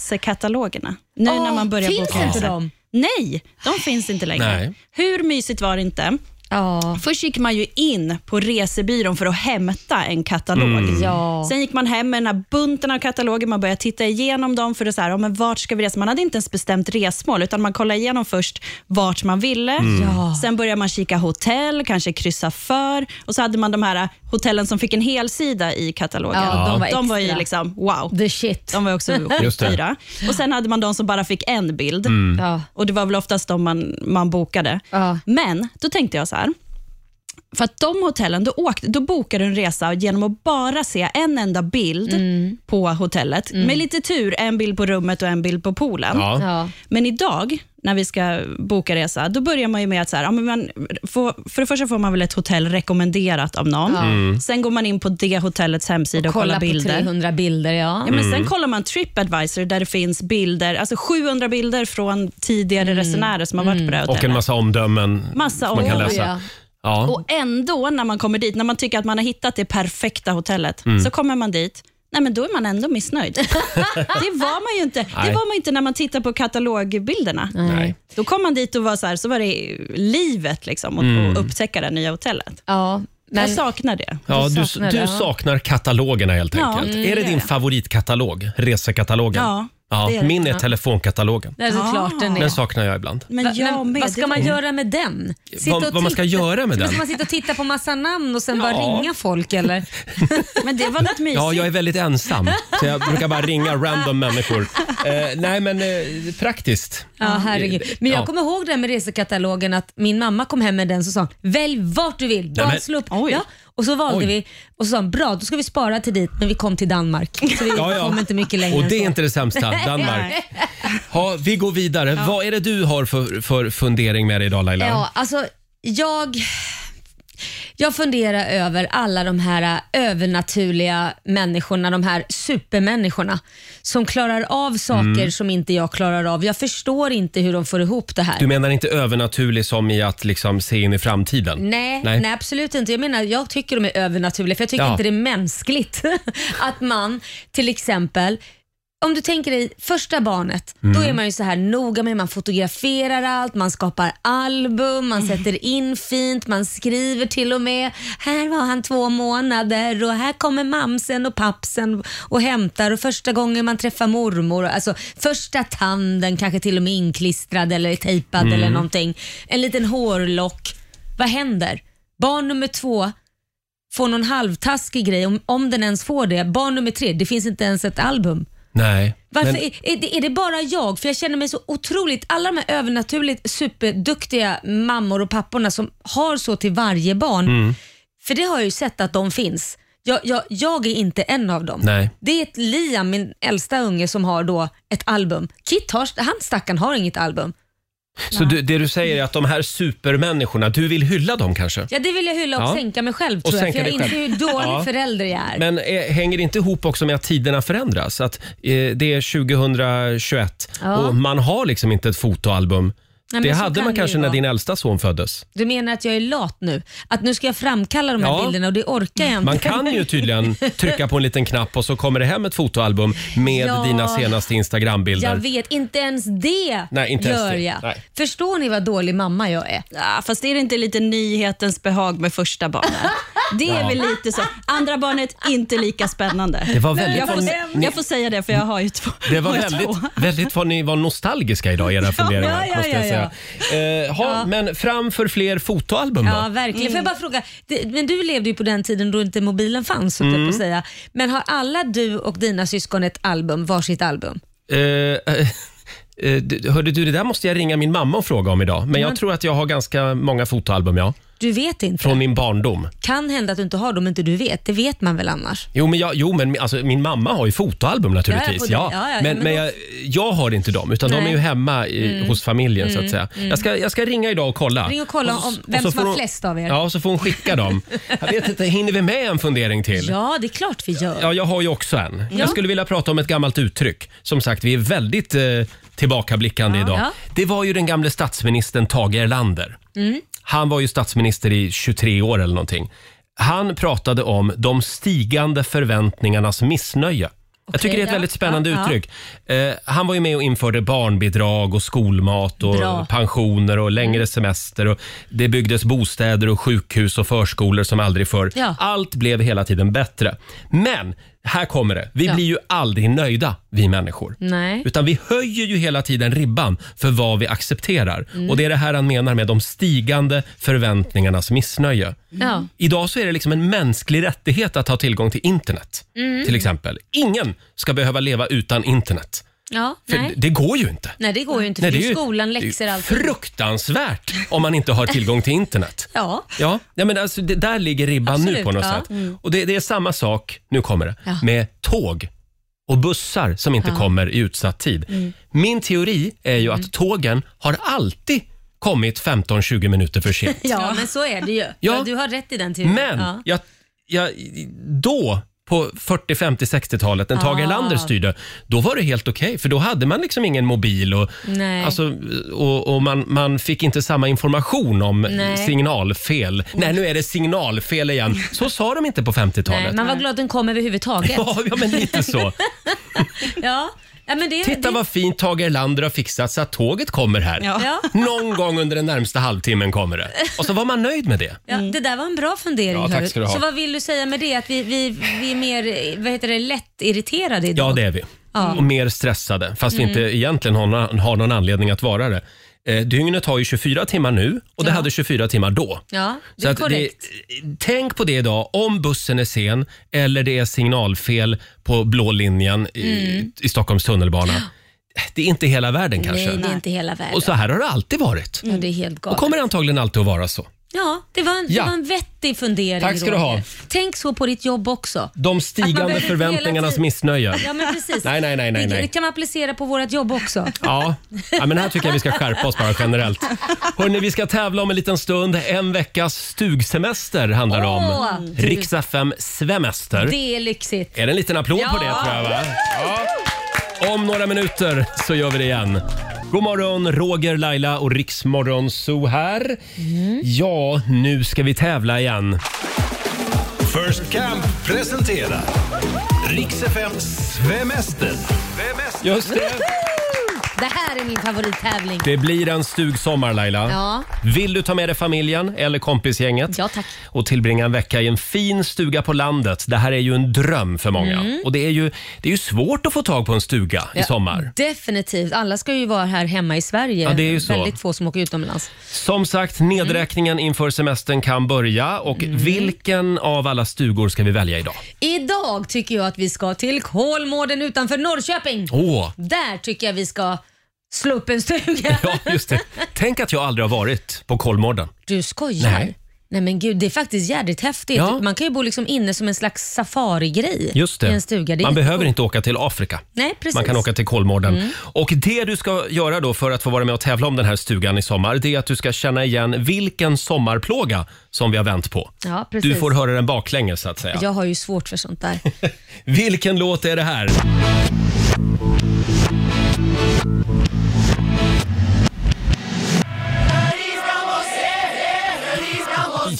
H: resekatalogerna. Nu
B: Åh,
H: när man börjar
B: finns
H: boka
B: inte
H: resor.
B: de?
H: Nej, de finns inte längre.
A: Nej.
H: Hur mysigt var det inte?
B: Ja.
H: Först gick man ju in på resebyrån för att hämta en katalog.
B: Ja.
H: Sen gick man hem med den här bunten av kataloger, man började titta igenom dem för att så här, ja, men vart ska vi resa? Man hade inte ens bestämt resmål, utan man kollade igenom först vart man ville. Sen började man kika hotell, kanske kryssa för och så hade man de här hotellen som fick en hel sida i katalogen.
B: Ja, de var
H: de var ju
B: extra.
H: liksom wow.
B: The shit.
H: De var också
A: Just det.
H: dyra. Och Sen hade man de som bara fick en bild.
B: Ja.
H: Och Det var väl oftast de man, man bokade.
B: Ja.
H: Men då tänkte jag så här. För att de hotellen, då, åkte, då bokade du en resa genom att bara se en enda bild
B: Mm.
H: på hotellet. Med lite tur, en bild på rummet och en bild på poolen.
A: Ja.
B: Ja.
H: Men idag, när vi ska boka resa, då börjar man ju med att så här, ja, men man får, för det första får man väl ett hotell rekommenderat av någon. Sen går man in på det hotellets hemsida och,
B: Kolla
H: kollar
B: på
H: bilder.
B: 300 bilder, ja.
H: Ja, men Sen kollar man Tripadvisor där det finns bilder, alltså 700 bilder från tidigare resenärer som har varit på det här
A: Mm. Och en
H: hotellet.
A: massa omdömen
H: Massa
A: som man kan
H: omdömen.
B: alltså.
A: läsa. Ja.
H: Och ändå, när man kommer dit, när man tycker att man har hittat det perfekta hotellet,
A: Mm.
H: så kommer man dit Nej, men då är man ändå missnöjd. det var man ju inte Det
A: Nej.
H: var man ju inte när man tittar på katalogbilderna.
A: Nej.
H: Då kom man dit och var så här, så var det livet liksom, att
A: Mm.
H: att upptäcka det nya hotellet.
B: Ja, men,
H: Jag saknar det.
A: Ja,
B: Du
A: du,
B: saknar
A: du
B: det, ja.
A: saknar katalogerna helt
H: Ja,
A: enkelt.
H: mm,
A: är det
H: det
A: din
H: gör jag.
A: favoritkatalog? Resekatalogen?
H: Ja,
A: Ja,
H: Det är det.
A: min är telefonkatalogen.
B: Det är såklart den är.
A: Den saknar jag ibland.
H: Men
B: Va-
H: jag med.
B: vad ska
H: det-
B: man göra med den? Sitta
A: Vad-
B: och
A: vad man ska
B: titta-
A: göra med
B: Ska
A: den?
B: man sitta och titta på massa namn och sen bara
A: Ja.
B: ringa folk eller?
H: Men det var något mysigt.
A: Ja, jag är väldigt ensam. Så jag brukar bara ringa random människor. Eh, nej, men eh, praktiskt.
B: Ja, herregud. Men jag
A: Ja.
B: kommer ihåg det här med resekatalogen att min mamma kom hem med den och sa välj vart du vill, bara
A: men-
B: slå upp.
H: Oj.
B: Ja, och så valde
A: Oj.
B: vi och så sa hon, bra då ska vi spara till dit men vi kom till Danmark. Så vi
A: Ja,
B: kom
A: ja.
B: inte mycket längre
A: Och
B: än
A: det är
B: så.
A: inte det sämsta, Danmark. Ha, vi går vidare. Vad är det du har för, för fundering med dig idag Laila?
B: Ja, alltså jag... Jag funderar över alla de här ä, övernaturliga människorna, de här supermänniskorna som klarar av saker
A: Mm.
B: som inte jag klarar av. Jag förstår inte hur de får ihop det här.
A: Du menar inte övernaturlig som i att liksom se in i framtiden?
B: Nej,
A: Nej.
B: nej. absolut inte. Jag menar, jag tycker de är övernaturliga för jag tycker
A: Ja.
B: inte det är mänskligt att man till exempel om du tänker dig första barnet, då är man ju så här noga med man fotograferar allt, man skapar album, man sätter in fint, man skriver till och med. Här var han två månader och här kommer mamsen och pappsen och hämtar och första gången man träffar mormor, alltså första tanden kanske till och med inklistrad eller tejpad eller någonting. En liten hårlock. Vad händer? Barn nummer två får någon halvtaskig grej, om, om den ens får det. Barn nummer tre, det finns inte ens ett album.
A: Nej.
B: Varför
A: Men,
B: är, är, det, är det bara jag? För jag känner mig så otroligt, alla de här övernaturligt superduktiga mammor och papporna som har så till varje barn.
A: Mm.
B: För det har jag ju sett att de finns. Jag, jag, jag är inte en av dem.
A: Nej.
B: Det är ett Liam, min äldsta unge, som har då ett album. Kit, har, han stackaren, har inget album.
A: så du, det du säger är att de här supermänniskorna, du vill hylla dem kanske?
B: Ja, det vill jag hylla och
A: Ja.
B: sänka mig själv
A: Och
B: tror jag,
A: sänka
B: för jag
A: dig
B: inser
A: själv.
B: hur dålig
A: Ja.
B: förälder jag är.
A: Men eh, hänger det inte ihop också med att tiderna förändras? Att eh, det är 2021
B: Ja.
A: och man har liksom inte ett fotoalbum.
B: men
A: det
B: så
A: hade
B: kan
A: man
B: det ju
A: kanske när
B: vara.
A: din äldsta son föddes.
B: Du menar att jag är lat nu? Att nu ska jag framkalla de här
A: Ja.
B: bilderna och det orkar jag inte.
A: Man kan ju tydligen trycka på en liten knapp och så kommer det hem ett fotoalbum med
B: Ja.
A: dina senaste
B: Jag
A: Instagrambilder.
B: vet, inte ens det
A: Nej, inte ens
B: gör
A: det.
B: jag.
A: Nej.
B: Förstår ni vad dålig mamma jag är?
H: Ja, fast är det inte lite nyhetens behag med första barnet? Det är
A: Ja.
H: väl lite så. Andra barnet, inte lika spännande.
A: Det var väldigt
H: jag, får,
A: vad-
H: sä- jag får säga det, för jag har ju två.
A: Det var
H: har ju
A: väldigt,
H: två.
A: väldigt vad ni var nostalgiska idag i era funderingar.
B: ja, ja,
A: måste jag
B: ja,
A: säga. Eh, ha, Men fram för fler fotoalbum
B: Ja,
A: då?
B: verkligen. Får jag bara fråga, det, men du levde ju på den tiden då inte mobilen fanns, höll jag
A: Mm.
B: på att säga. Men har alla du och dina syskon ett album, varsitt album?
A: Eh, eh, eh, d- hörde du, det där måste jag ringa min mamma och fråga om idag. Men
B: Mm.
A: jag tror att jag har ganska många fotoalbum ja,
B: Du vet inte.
A: från min barndom.
B: Kan hända att du inte har dem, men inte du vet. Det vet man väl annars?
A: Jo, men, jag, jo, men mi- alltså, min mamma har ju fotoalbum naturligtvis.
B: Ja,
A: Ja,
B: ja, på det. Ja, ja,
A: men
B: men
A: men
B: då-
A: jag, jag har inte dem, utan de
B: Nej. Mm.
A: är ju hemma i, hos familjen. så att säga. Jag, ska, jag ska ringa idag och kolla.
B: Ring och kolla
A: så-
B: om vem
A: så
B: som
A: får
B: har
A: hon-
B: flest av er.
A: Ja, och så får hon skicka dem. Jag vet inte, hinner vi med en fundering till?
B: Ja, det är klart vi gör.
A: Ja, jag har ju också en. Jag skulle vilja prata om ett gammalt uttryck. Som sagt, vi är väldigt eh, tillbakablickande idag.
B: Ja.
A: Det var ju den gamle statsministern Tage Erlander.
B: Mm.
A: Han var ju statsminister i 23 år eller någonting. Han pratade om de stigande förväntningarnas missnöje. jag tycker det är ett
B: ja.
A: väldigt spännande
B: Ja, ja.
A: uttryck. Eh, han var ju med och införde barnbidrag och skolmat och
B: Bra.
A: pensioner och längre semester. Och det byggdes bostäder och sjukhus och förskolor som aldrig förr.
B: Ja.
A: Allt blev hela tiden bättre. Men här kommer det. Vi
B: Ja.
A: blir ju aldrig nöjda, vi människor.
B: Nej.
A: Utan vi höjer ju hela tiden ribban för vad vi accepterar.
B: Mm.
A: Och Det är det här han menar med de stigande förväntningarnas missnöje.
B: Ja.
A: Idag så är det liksom en mänsklig rättighet att ha tillgång till internet.
B: Mm.
A: Till exempel. Ingen ska behöva leva utan internet.
B: Ja,
A: För
B: nej.
A: det går ju inte.
B: Nej, det går ju inte. För
A: Nej,
B: det är
A: ju-
B: skolan,
A: det är ju
B: läxor, allt.
A: Fruktansvärt om man inte har tillgång till internet.
B: Ja.
A: Ja, ja men alltså, det, där ligger ribban nu
B: Absolut,
A: på något
B: ja. Mm.
A: sätt. Och det, det är samma sak, nu kommer det,
B: Ja.
A: med tåg och bussar som inte kommer i utsatt tid.
B: Mm.
A: Min teori är ju att tågen har alltid kommit 15-20 minuter för sent.
B: Ja, men så är det ju. Ja. du har rätt i den teorin.
A: Men
B: ja.
A: jag, jag, då på 40, 50, 60-talet när Tage
B: Ah.
A: Erlander styrde, då var det helt okej för då hade man liksom ingen mobil och,
B: Nej.
A: alltså, och, och man, man fick inte samma information om
B: Nej.
A: signalfel. Nej, nu är det signalfel igen. Så sa de inte på 50-talet.
B: Nej, man var glad att den kom överhuvudtaget.
A: Ja, ja, men lite så.
B: Ja. Ja, men det,
A: Titta
B: det,
A: vad fint Tage Erlander har fixat så att tåget kommer här.
H: Ja.
B: Ja.
A: Någon gång under den närmsta halvtimmen kommer det. Och så var man nöjd med det.
B: Ja, Det där var en bra fundering.
A: Mm. Ja, tack
B: hörru.
A: ska du ha.
B: Så vad vill du säga med det? Att vi, vi, vi är mer eh, vad heter det, lätt irriterade idag?
A: Ja, det är vi.
B: Ja. Mm.
A: och mer stressade, fast vi inte egentligen har, någon- har någon anledning att vara det. Eh, dygnet har ju 24 timmar nu och det
B: Ja.
A: hade 24 timmar då.
B: Ja, det
A: Så
B: är
A: att det,
B: korrekt.
A: tänk på det idag, om bussen är sen eller det är signalfel på blå linjen i, i Stockholms tunnelbana. Det är inte hela världen kanske.
B: Mm. Nej, det är inte hela världen.
A: Och så här har det alltid varit.
B: Ja, det är helt galet.
A: Och kommer antagligen alltid att vara så.
B: Ja, det var, en,
A: Ja.
B: det var en vettig fundering.
A: Tack ska du ha.
B: Roger. Tänk så på ditt jobb också.
A: De
B: Att man
A: stigande
B: behöver hela
A: förväntningarnas
B: tiden-
A: missnöje.
B: Ja, men precis.
A: Nej, nej, nej, nej,
B: Det-
A: nej.
B: Det kan man applicera på vårt jobb också.
A: Ja. ja, men här tycker jag vi ska skärpa oss bara generellt. Hörrni, vi ska tävla om en liten stund. En veckas stugsemester handlar det
B: Åh.
A: om. Rix FM Svemester.
B: Det är lyxigt.
A: Är det en liten applåd på det
B: Ja.
A: tror jag va? Ja. Om några minuter så gör vi det igen. God morgon, Roger, Laila och Riksmorgon Zoo här.
B: Mm.
A: Ja, nu ska vi tävla igen.
C: First Camp presenterar Rix FM Svemester.
A: Just det.
B: Det här är min favorittävling.
A: Det blir en stugsommar Laila.
B: Ja.
A: Vill du ta med dig familjen eller kompisgänget
B: Ja, tack.
A: och tillbringa en vecka i en fin stuga på landet. Det här är ju en dröm för många.
B: Mm.
A: Och det är, ju, det är ju svårt att få tag på en stuga i sommar.
B: Definitivt. Alla ska ju vara här hemma i Sverige.
A: Ja, det är ju så.
B: Väldigt få som åker utomlands.
A: Som sagt, nedräkningen
B: Mm.
A: inför semestern kan börja. Och Vilken av alla stugor ska vi välja idag?
B: Idag tycker jag att vi ska till Kolmården utanför Norrköping.
A: Åh,
B: Där tycker jag vi ska slå upp en stuga.
A: ja just det. Tänk att jag aldrig har varit på Kolmården.
B: Du skojar?
A: Nej.
B: Nej. men gud, det är faktiskt jädrigt häftigt.
A: Ja.
B: Man kan ju bo liksom inne som en slags safarigrej
A: Just det.
B: i en stuga. Det är
A: Man
B: jätte-
A: behöver inte åka till Afrika.
B: Nej, precis. Mm.
A: Man kan åka till Kolmården. Och det du ska göra då för att få vara med och tävla om den här stugan i sommar, det är att du ska känna igen vilken sommarplåga som vi har vänt på.
B: Ja, precis.
A: Du får höra den baklänges så att säga.
B: Jag har ju svårt för sånt där.
A: Vilken låt är det här?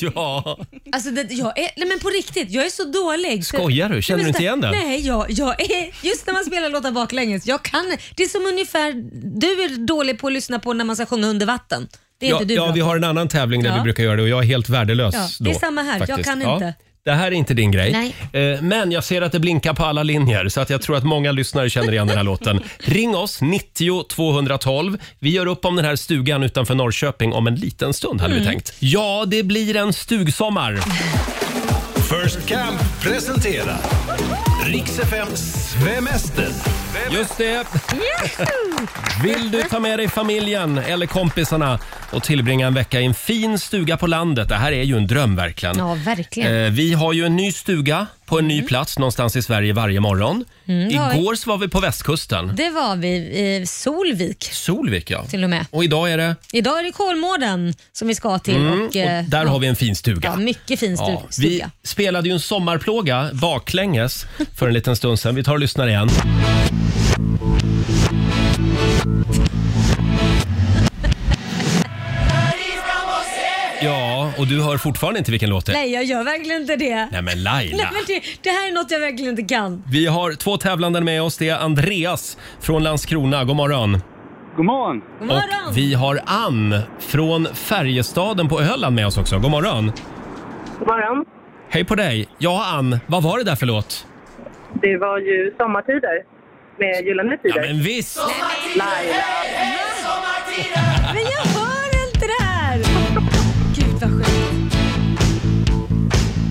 A: Ja,
B: Alltså det, jag är, nej men på riktigt, jag är så dålig. Så-
A: Skojar du? Känner
B: Nej, men
A: du inte igen
B: snälla-
A: den?
B: Nej, jag, jag är, just när man spelar låtar baklänges. Jag kan, det är som ungefär, du är dålig på att lyssna på när man ska sjunga under vatten. Det är
A: ja,
B: inte du
A: ja
B: bra
A: vi
B: på.
A: har en annan tävling där
B: Ja.
A: vi brukar göra det och jag är helt värdelös
B: Ja,
A: då.
B: det är samma här. Jag kan inte.
A: Det här är inte din grej.
B: Nej.
A: Eh, Men jag ser att det blinkar på alla linjer så att jag tror att många lyssnare känner igen den här låten. Ring oss, 90 212. Vi gör upp om den här stugan utanför Norrköping om en liten stund hade
B: Mm.
A: vi tänkt. Ja, det blir en stugsommar.
C: First Camp presenterar Rix FM Svemester.
A: Just det. Vill du ta med dig familjen eller kompisarna och tillbringa en vecka i en fin stuga på landet? Det här är ju en dröm verkligen.
B: Ja, Mm. verkligen.
A: Eh, vi har ju en ny stuga på en ny plats någonstans i Sverige varje morgon.
B: ja.
A: Igår så var vi på västkusten.
B: Det var vi i Solvik
A: Solvik ja.
B: till och med.
A: Och idag är det...
B: Idag är det Kolmården som vi ska till.
A: Mm, och
B: och, eh,
A: där har vi en fin stuga.
B: ja, mycket fin stu-
A: Ja, vi
B: stuga.
A: spelade ju en sommarplåga baklänges för en liten stund sedan. Vi tar och lyssnar igen. Ja, och du hör fortfarande inte vilken låt det är.
B: Nej, jag gör verkligen inte det.
A: Nej men
B: Nej,
A: Laila.
B: men det, det här är något jag verkligen inte kan.
A: Vi har två tävlande med oss. Det är Andreas från Landskrona. God morgon.
D: God morgon!
B: God morgon!
A: Och vi har Ann från Färjestaden på Öland med oss också. God morgon.
E: God morgon.
A: Hej på dig. Ja Ann, vad var det där för låt?
E: Det var ju sommartider med Gyllene
A: Ja
E: Tider.
A: men visst!
E: Laila.
B: Men jag hör inte det här! Gud vad sjukt.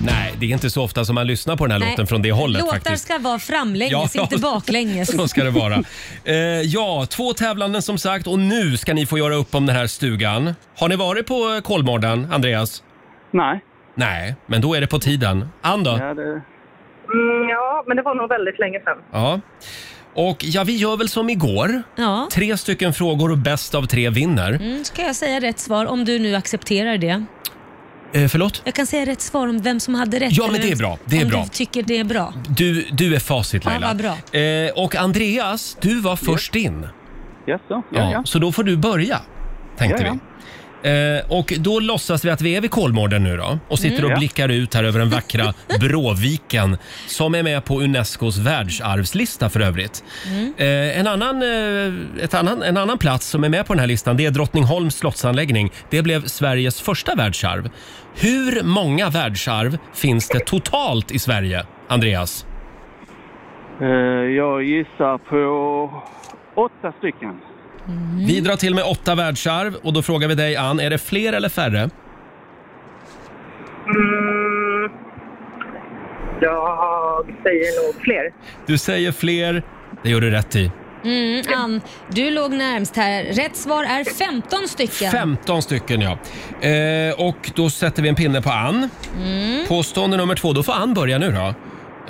A: Nej, det är inte så ofta som man lyssnar på den här
B: Nej,
A: låten från det hållet
B: Låtar
A: faktiskt.
B: ska vara framlänges,
A: Ja,
B: inte
A: ja.
B: baklänges.
A: Så ska det vara. Eh, ja, två tävlanden som sagt och nu ska ni få göra upp om den här stugan. Har ni varit på eh, Kolmården, Andreas?
D: Nej.
A: Nej, men då är det på tiden. Ann då? Ja.
D: Ja, det...
E: Mm, ja, men det var nog väldigt länge sedan.
A: Och ja, vi gör väl som igår.
B: Ja,
A: Tre stycken frågor och bäst av tre vinner.
B: mm, ska jag säga rätt svar om du nu accepterar det?
A: Eh, förlåt?
B: Jag kan säga rätt svar om vem som hade rätt.
A: Ja,
B: eller
A: men det är
B: vem-
A: bra. Det är
B: om
A: bra.
B: du tycker det är bra.
A: Du, du är facit
B: Ja,
A: Laila.
B: vad bra.
A: Eh, och Andreas, du var först in.
D: Jaså?
A: Ja,
D: Ja, ja.
A: Så då får du börja, tänkte
D: Ja, ja.
A: vi. Eh, och då låtsas vi att vi är vid Kolmården nu då och sitter och
D: Mm. Ja.
A: blickar ut här över den vackra Bråviken som är med på Unescos världsarvslista för övrigt.
D: Mm.
A: Eh, en, annan, eh, ett annan, en annan plats som är med på den här listan det är Drottningholms slottsanläggning. Det blev Sveriges första världsarv. Hur många världsarv finns det totalt i Sverige, Andreas?
D: Eh, Jag gissar på åtta stycken. Mm.
A: Vi drar till med åtta världsarv och då frågar vi dig Ann, är det fler eller färre?
E: Mm, jag säger nog fler.
A: Du säger fler, det gör du rätt i.
B: Mm, Ann, du låg närmst här. Rätt svar är 15 stycken.
A: 15 stycken ja. Eh, och då sätter vi en pinne på Ann. Påstående nummer två, då får Ann börja nu då.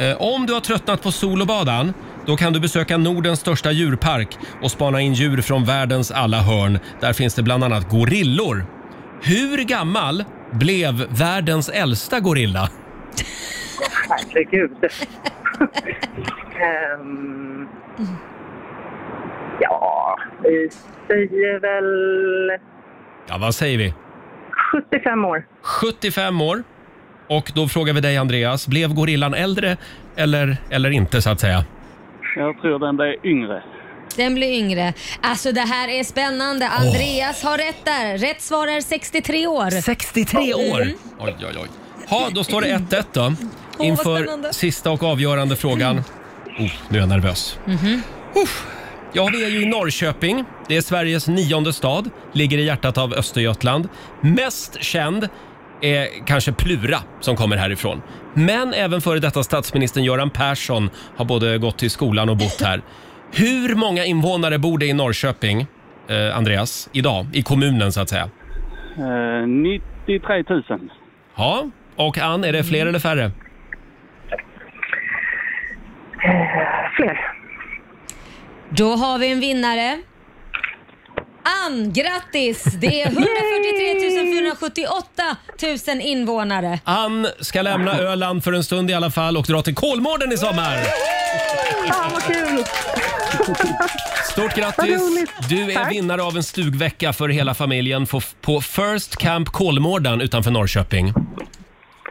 A: Eh, om du har tröttnat på sol och bad Ann, då kan du besöka Nordens största djurpark och spana in djur från världens alla hörn. Där finns det bland annat gorillor. Hur gammal blev världens äldsta gorilla?
E: Herregud. Ehm, ja, vi säger väl
A: Ja, vad säger vi?
E: 75 år.
A: 75 år. Och då frågar vi dig Andreas, blev gorillan äldre eller, eller inte så att säga?
D: Jag tror den där är yngre.
B: Den blir yngre. Alltså det här är spännande. Andreas har rätt där. Rätt svar är 63 år.
A: 63 år! Oj, oj, oj. Ha, då står det 1-1 då.
B: vad
A: Inför
B: spännande.
A: sista och avgörande frågan. Oh, nu är jag nervös.
B: Mhm.
A: Uff. Ja, vi är ju i Norrköping. Det är Sveriges nionde stad. Ligger i hjärtat av Östergötland. Mest känd är kanske Plura som kommer härifrån. Men även före detta statsministern Göran Persson har både gått till skolan och bott här. Hur många invånare bor det i Norrköping, eh, Andreas, idag? I kommunen så att säga.
D: Eh, 93 000.
A: Ja, och Ann, är det fler eller färre?
E: Fler.
B: Då har vi en vinnare. Ann, grattis! Det är 143 478 000 invånare.
A: Ann ska lämna Öland för en stund i alla fall och dra till Kolmården i sommar.
E: Fan vad kul!
A: Stort
E: Vad
A: grattis!
E: roligt.
A: Du är
E: Tack.
A: vinnare av en stugvecka för hela familjen på- på First Camp Kolmården utanför Norrköping.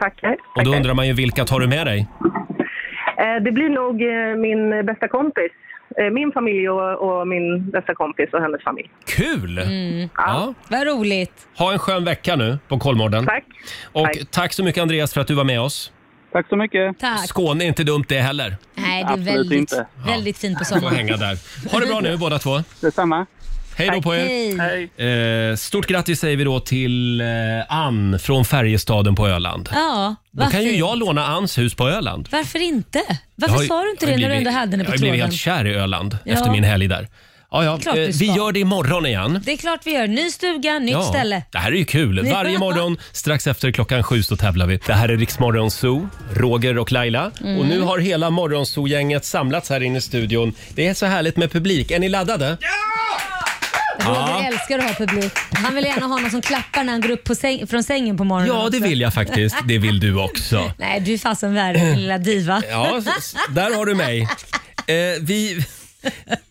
E: Tackar.
A: Och då
E: tackar.
A: undrar man ju vilka tar du med dig?
E: Eh, Det blir nog eh, min bästa kompis. Eh, Min familj och, och min bästa kompis och hennes familj.
A: Kul!
E: Mm.
A: Ja.
B: Vad roligt.
A: Ha en skön vecka nu på Kolmården.
E: Tack.
A: Och
E: Tack.
A: tack så mycket Andreas för att du var med oss.
D: Tack så mycket.
B: Tack.
A: Skåne är inte dumt det heller.
B: Nej, det är
D: Absolut
B: väldigt,
D: inte.
B: väldigt fint på
A: Får
B: sommaren.
A: hänga där. Ha det bra nu båda två.
D: Detsamma.
A: Hej då på er!
B: Hej.
D: Hej.
A: Eh, stort grattis säger vi då till eh, Ann från Färjestaden på Öland.
B: Ja,
A: Då
B: varför,
A: kan ju jag låna Anns hus på Öland.
B: varför inte?
A: Jag
B: Varför
A: har ju-
B: sa du inte
A: jag
B: det
A: har
B: när du
A: blivit-
B: ändå hade henne på
A: Jag har blivit
B: tråden?
A: helt kär i Öland
B: Ja.
A: efter min helg där. Ja, ja.
B: Klart du
A: Eh,
B: ska.
A: Vi gör det imorgon igen.
B: Det är klart vi gör. Ny stuga, nytt
A: Ja,
B: ställe.
A: det här är ju kul. Varje
B: Ja.
A: morgon strax efter klockan sju så tävlar vi. Det här är Riksmorgon Zoo, Roger och Laila.
B: Mm.
A: Och nu har hela Morgonzoo-gänget samlats här inne i studion. Det är så härligt med publik. Är ni laddade?
B: Roger älskar att ha publik. Han vill gärna ha någon som klappar när han går upp på säng, från sängen på morgonen.
A: Ja, det
B: också.
A: vill jag faktiskt. Det vill du också.
B: Nej, du är fasen värre din lilla diva.
A: Ja, s- s- där har du mig. Eh, vi,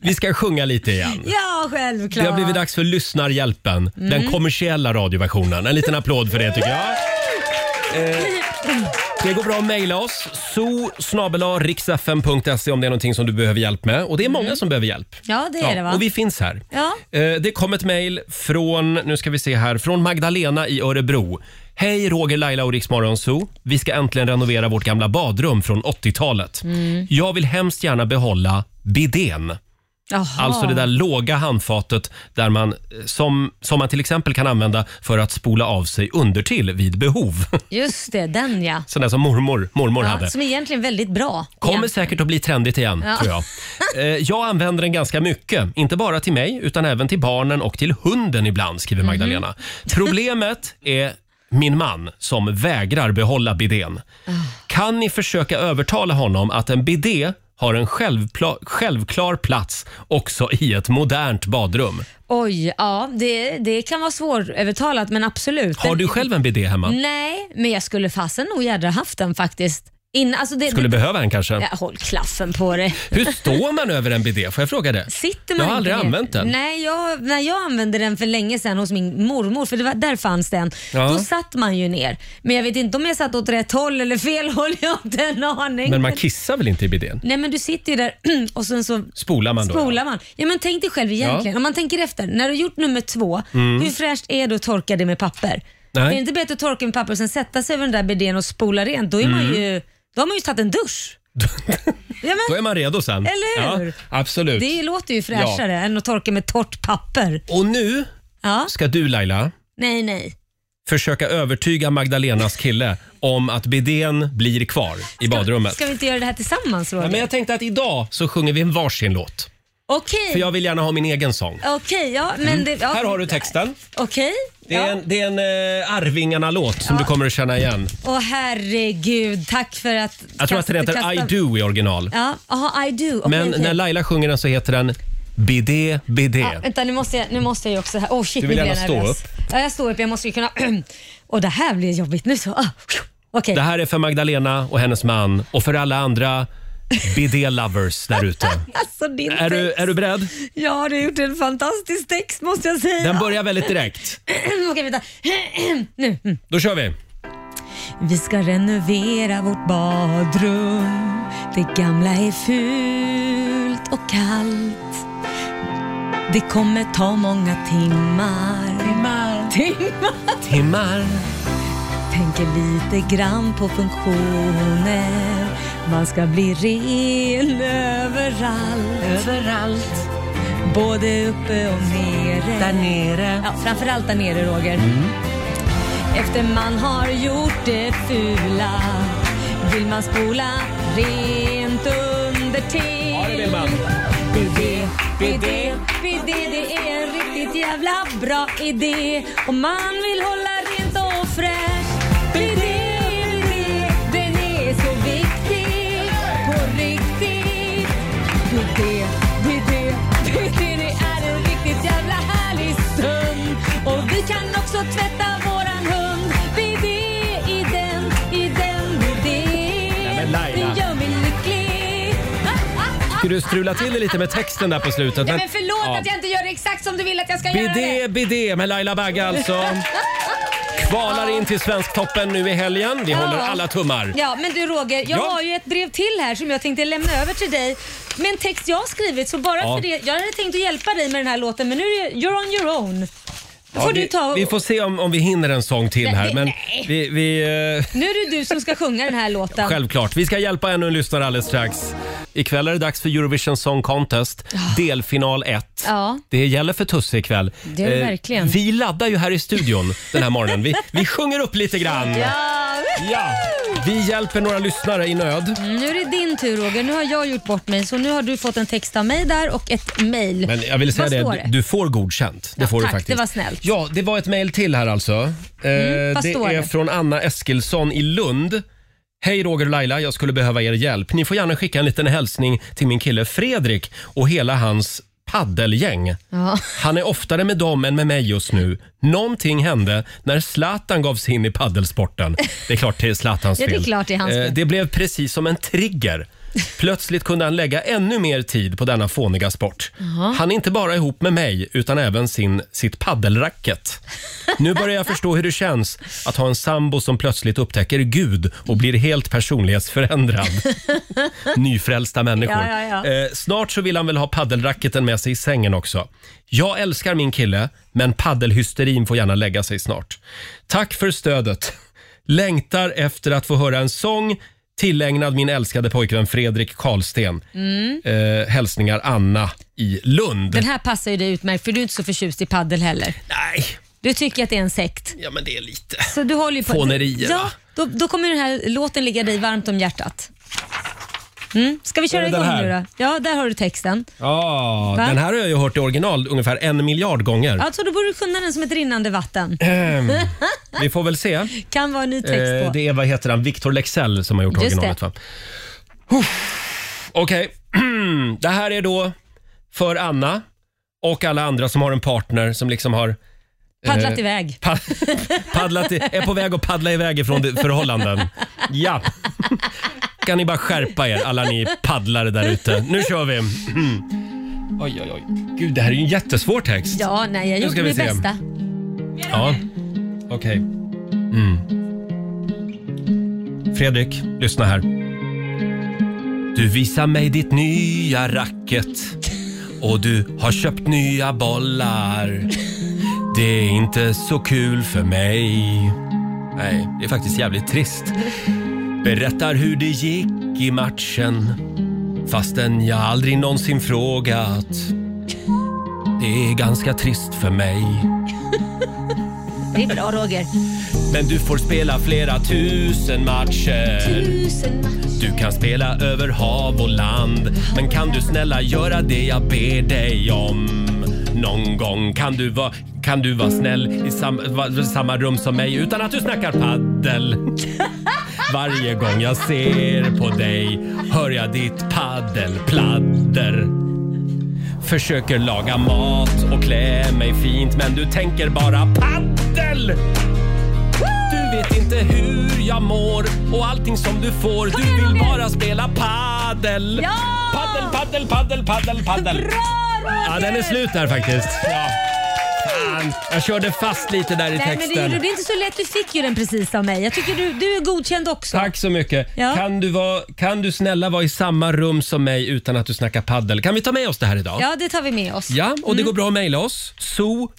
A: vi ska sjunga lite igen.
B: Ja, Mm.
A: Det
B: självklart.
A: har blivit dags för Lyssnarhjälpen, den kommersiella radioversionen. En liten applåd för det tycker jag. Eh, Det går bra att mejla oss, so riksfm.se om det är någonting som du behöver hjälp med. Och det är många som behöver hjälp.
B: Mm. Ja, det är det, va?
A: Och vi finns här.
B: Ja.
A: Eh, Det kom ett mejl från, nu ska vi se här, från Magdalena i Örebro. Hej Roger, Laila och Riksmorgon Zoo. Vi ska äntligen renovera vårt gamla badrum från 80-talet.
B: Mm.
A: Jag vill hemskt gärna behålla bidén.
B: Jaha.
A: Alltså det där låga handfatet där man, eh, som, som man till exempel kan använda för att spola av sig undertill vid behov.
B: Just det, den ja.
A: Sån där som mormor, mormor
B: ja
A: hade.
B: som är egentligen väldigt bra.
A: Kommer
B: Ja.
A: säkert att bli trendigt igen,
B: Ja.
A: tror jag. Eh, jag använder den ganska mycket. Inte bara till mig, utan även till barnen och till hunden ibland, skriver
B: Mhm.
A: Magdalena. Problemet är min man som vägrar behålla bidén.
B: Ah.
A: Kan ni försöka övertala honom att en bidé har en självpla- självklar plats också i ett modernt badrum?
B: Oj, ja det, det kan vara svårövertalat men absolut.
A: Har
B: Den-
A: du själv en bidé
B: Mm.
A: hemma?
B: Nej, men jag skulle fasen nog gärna haft den faktiskt. In, alltså det,
A: Skulle
B: det,
A: behöva en kanske.
B: ja, håll klaffen på dig.
A: Hur står man över en bidé? Får jag fråga det?
B: Sitter man
A: jag har aldrig
B: inte ner?
A: använt den.
B: Nej, jag, när jag använde den för länge sedan hos min mormor, för det var, där fanns den,
A: Ja.
B: då satt man ju ner. Men jag vet inte om jag satt åt rätt håll eller fel håll, jag har inte en aning.
A: Men man kissar väl inte i bidén?
B: Nej men du sitter ju där och sen så
A: Spolar man då?
B: spolar man. Ja men tänk dig själv egentligen, om man tänker efter, när du har gjort nummer två, hur fräscht är det att torka det med papper?
A: Mm. Nej.
B: Är det inte bättre att torka med papper och sen sätta sig över den där bidén och spola rent? Då, är man ju, då har man ju tagit en dusch. Ja, men,
A: Mm. Då är man redo sen.
B: Eller hur?
A: Ja, absolut.
B: det låter ju fräschare än att torka med torrt papper.
A: Och nu
B: Ja.
A: ska du Laila
B: Nej, nej.
A: försöka övertyga Magdalenas kille om att bidén blir kvar i badrummet.
B: Ska vi inte göra det här tillsammans Roger?
A: Ja, men jag tänkte att idag så sjunger vi en varsin låt.
B: Okej,
A: För jag vill gärna ha min egen sång.
B: okej. Ja, men det, ja.
A: Här har du texten.
B: Okej.
A: Det är en, det är en eh, Arvingarna-låt som du kommer att känna igen.
B: Åh herregud, tack för att...
A: Jag tror att den heter I Do i original.
B: Ja, aha, I do. Okej,
A: Men
B: okej.
A: när Laila sjunger den så heter den Bidé, bidé.
B: Ja, vänta, nu måste, jag, nu måste jag ju också... här- Åh shit,
A: Du vill
B: nu blir jag
A: gärna stå
B: nervös.
A: upp.
B: Ja, jag står upp. Jag måste ju kunna... Och det här blir jobbigt nu så. Ah, Okej.
A: Det här är för Magdalena och hennes man och för alla andra bidé-lovers där ute.
B: Alltså din
A: Är du,
B: text.
A: är du beredd?
B: Ja, du har gjort en fantastisk text måste jag säga.
A: Den börjar väldigt direkt.
B: Okej, vänta. nu. Mm.
A: Då kör vi.
B: Vi ska renovera vårt badrum. Det gamla är fult och kallt. Det kommer ta många timmar. Timmar. Timmar.
A: Timmar.
B: Tänker lite grann på funktioner. Man ska bli ren överallt. Överallt. Både uppe och nere. Där nere. Ja, framförallt där nere, Roger.
A: Mm.
B: Efter man har gjort det fula vill man spola rent under till.
A: Ja, det vill man.
B: Bidé, bidé, bidé, det är en riktigt jävla bra idé. Och man vill hålla rent och fräscht. Bidé, bidé, den är så viktig på riktigt. Bidé, bidé, bidé, det är en riktigt jävla härlig stund. Och vi kan också tvätta våran hund. Bidé i den, i den bidé.
A: Nej, men Laila.
B: Den gör mig lycklig. Ah, ah, ah.
A: Ska du strula till det lite med texten där på slutet?
B: Nej, men förlåt att jag inte gör det exakt som du vill att jag ska göra
A: Bidé,
B: det.
A: bidé med Laila Bagge alltså. Kvalar in till Svensktoppen nu i helgen. Vi håller alla tummar.
B: Ja, men du Roger, jag
A: Ja.
B: har ju ett brev till här som jag tänkte lämna över till dig. Med en text jag har skrivit, så bara
A: Ja.
B: för det. Jag hade tänkt att hjälpa dig med den här låten, men nu är det, you're on your own. Då
A: Ja,
B: får du
A: vi,
B: ta...
A: vi får se om, om vi hinner en sång till
B: Nej,
A: här.
B: det-
A: Men
B: nej.
A: vi, vi, eh,
B: Nu är det du som ska sjunga den här låten.
A: självklart. Vi ska hjälpa ännu en lyssnare alldeles strax. Ikväll är det dags för Eurovision Song Contest, delfinal 1.
B: Ja.
A: Det gäller för Tusse ikväll. Eh,
B: Det är det verkligen.
A: Vi laddar ju här i studion den här morgonen. Vi, vi sjunger upp lite grann.
B: Ja.
A: Ja. Vi hjälper några lyssnare i nöd.
B: Nu är det din tur Roger, nu har jag gjort bort mig så nu har du fått en text av mig där och ett mail.
A: Men jag vill säga
B: Vad
A: det,
B: står
A: du- du får godkänt. Det
B: Ja,
A: får
B: tack,
A: du faktiskt.
B: det var snällt. Mm,
A: Ja, det var ett mejl till här alltså. Eh,
B: vad
A: det
B: står
A: är
B: det?
A: från Anna Eskilsson i Lund. Hej Roger och Laila, jag skulle behöva er hjälp. Ni får gärna skicka en liten hälsning till min kille Fredrik och hela hans paddelgäng.
B: Ja.
A: Han är oftare med dem än med mig just nu. Någonting hände när Zlatan gav sig in i paddelsporten. Det är klart det är Zlatans
B: Ja,
A: fel.
B: det är klart det är hans
A: Eh,
B: fel.
A: det blev precis som en trigger. Plötsligt kunde han lägga ännu mer tid på denna fåniga sport. Han är inte bara ihop med mig, utan även sin, sitt paddelracket. Nu börjar jag förstå hur det känns att ha en sambo som plötsligt upptäcker Gud och blir helt personlighetsförändrad. Nyfrälsta människor.
B: Ja, ja, ja.
A: Eh, snart så vill han väl ha paddelracketen med sig i sängen också. Jag älskar min kille, men paddelhysterin får gärna lägga sig snart. Tack för stödet. Längtar efter att få höra en sång tillägnad min älskade pojkvän Fredrik Karlsten.
B: Mm.
A: Eh, hälsningar Anna i Lund.
B: Den här passar ju dig utmärkt för du är inte så förtjust i paddel heller.
A: Nej,
B: Du tycker att det är en sekt.
A: ja men det är lite...
B: Så du håller ju på...
A: Fånerier, va?
B: Ja, då, då kommer den här låten ligga dig varmt om hjärtat. Mm. Ska vi
A: Är
B: köra
A: det den
B: igång
A: här?
B: nu då? Ja, där har du texten.
A: Ja,
B: Va?
A: den här har jag ju hört i original ungefär en miljard gånger.
B: Alltså då borde du kunna den som ett rinnande vatten.
A: Vi får väl se.
B: Kan vara en ny text
A: Eh,
B: på.
A: det är vad heter han, Victor Lexell som har gjort
B: Just
A: originalet
B: det.
A: va? Uff. Okej, det här är då för Anna och alla andra som har en partner som liksom har
B: Paddlat
A: eh,
B: iväg.
A: pa- paddlat i, är på väg att paddla iväg ifrån det- förhållanden. Ja. Kan ni bara skärpa er alla ni paddlare där ute. Nu kör vi. oj, oj, oj. Gud, det här är ju en jättesvår text.
B: Ja, nej, jag
A: Nu
B: gjorde
A: ska vi
B: mitt
A: se.
B: bästa.
A: Ja, okej. Mm. Fredrik, lyssna här. Du visar mig ditt nya racket och du har köpt nya bollar. Det är inte så kul för mig. Nej, det är faktiskt jävligt trist. Berättar hur det gick gick i matchen fastän jag aldrig någonsin frågat. Det är ganska trist för mig.
B: Det är bra Roger.
A: Men du får spela flera tusen matcher.
B: Tusen matcher.
A: Du kan spela över hav och land Men kan du snälla göra det jag ber dig om? Någon gång kan du vara kan du vara snäll i sam, va, samma rum som mig utan att du snackar paddel? Varje gång jag ser på dig hör jag ditt paddelpladder. Försöker laga mat och klä mig fint men du tänker bara paddel! Du vet inte hur jag mår och allting som du får. Du vill bara spela paddel.
F: Ja!
A: Paddel, paddel, paddel, paddel, paddel. Ja, den är slut där faktiskt. Ja. Fan, jag körde fast lite där i
B: Nej, men det,
A: texten.
B: gjorde- det är inte så lätt. Du fick ju den precis av mig. Jag tycker du, du är godkänd också.
A: Tack så mycket.
B: Ja.
A: Kan, du vara, kan du snälla vara i samma rum som mig utan att du snackar paddel? Kan vi ta med oss det här idag?
B: Ja, Mm. det tar vi med oss.
A: Ja, och det går bra att mejla oss. so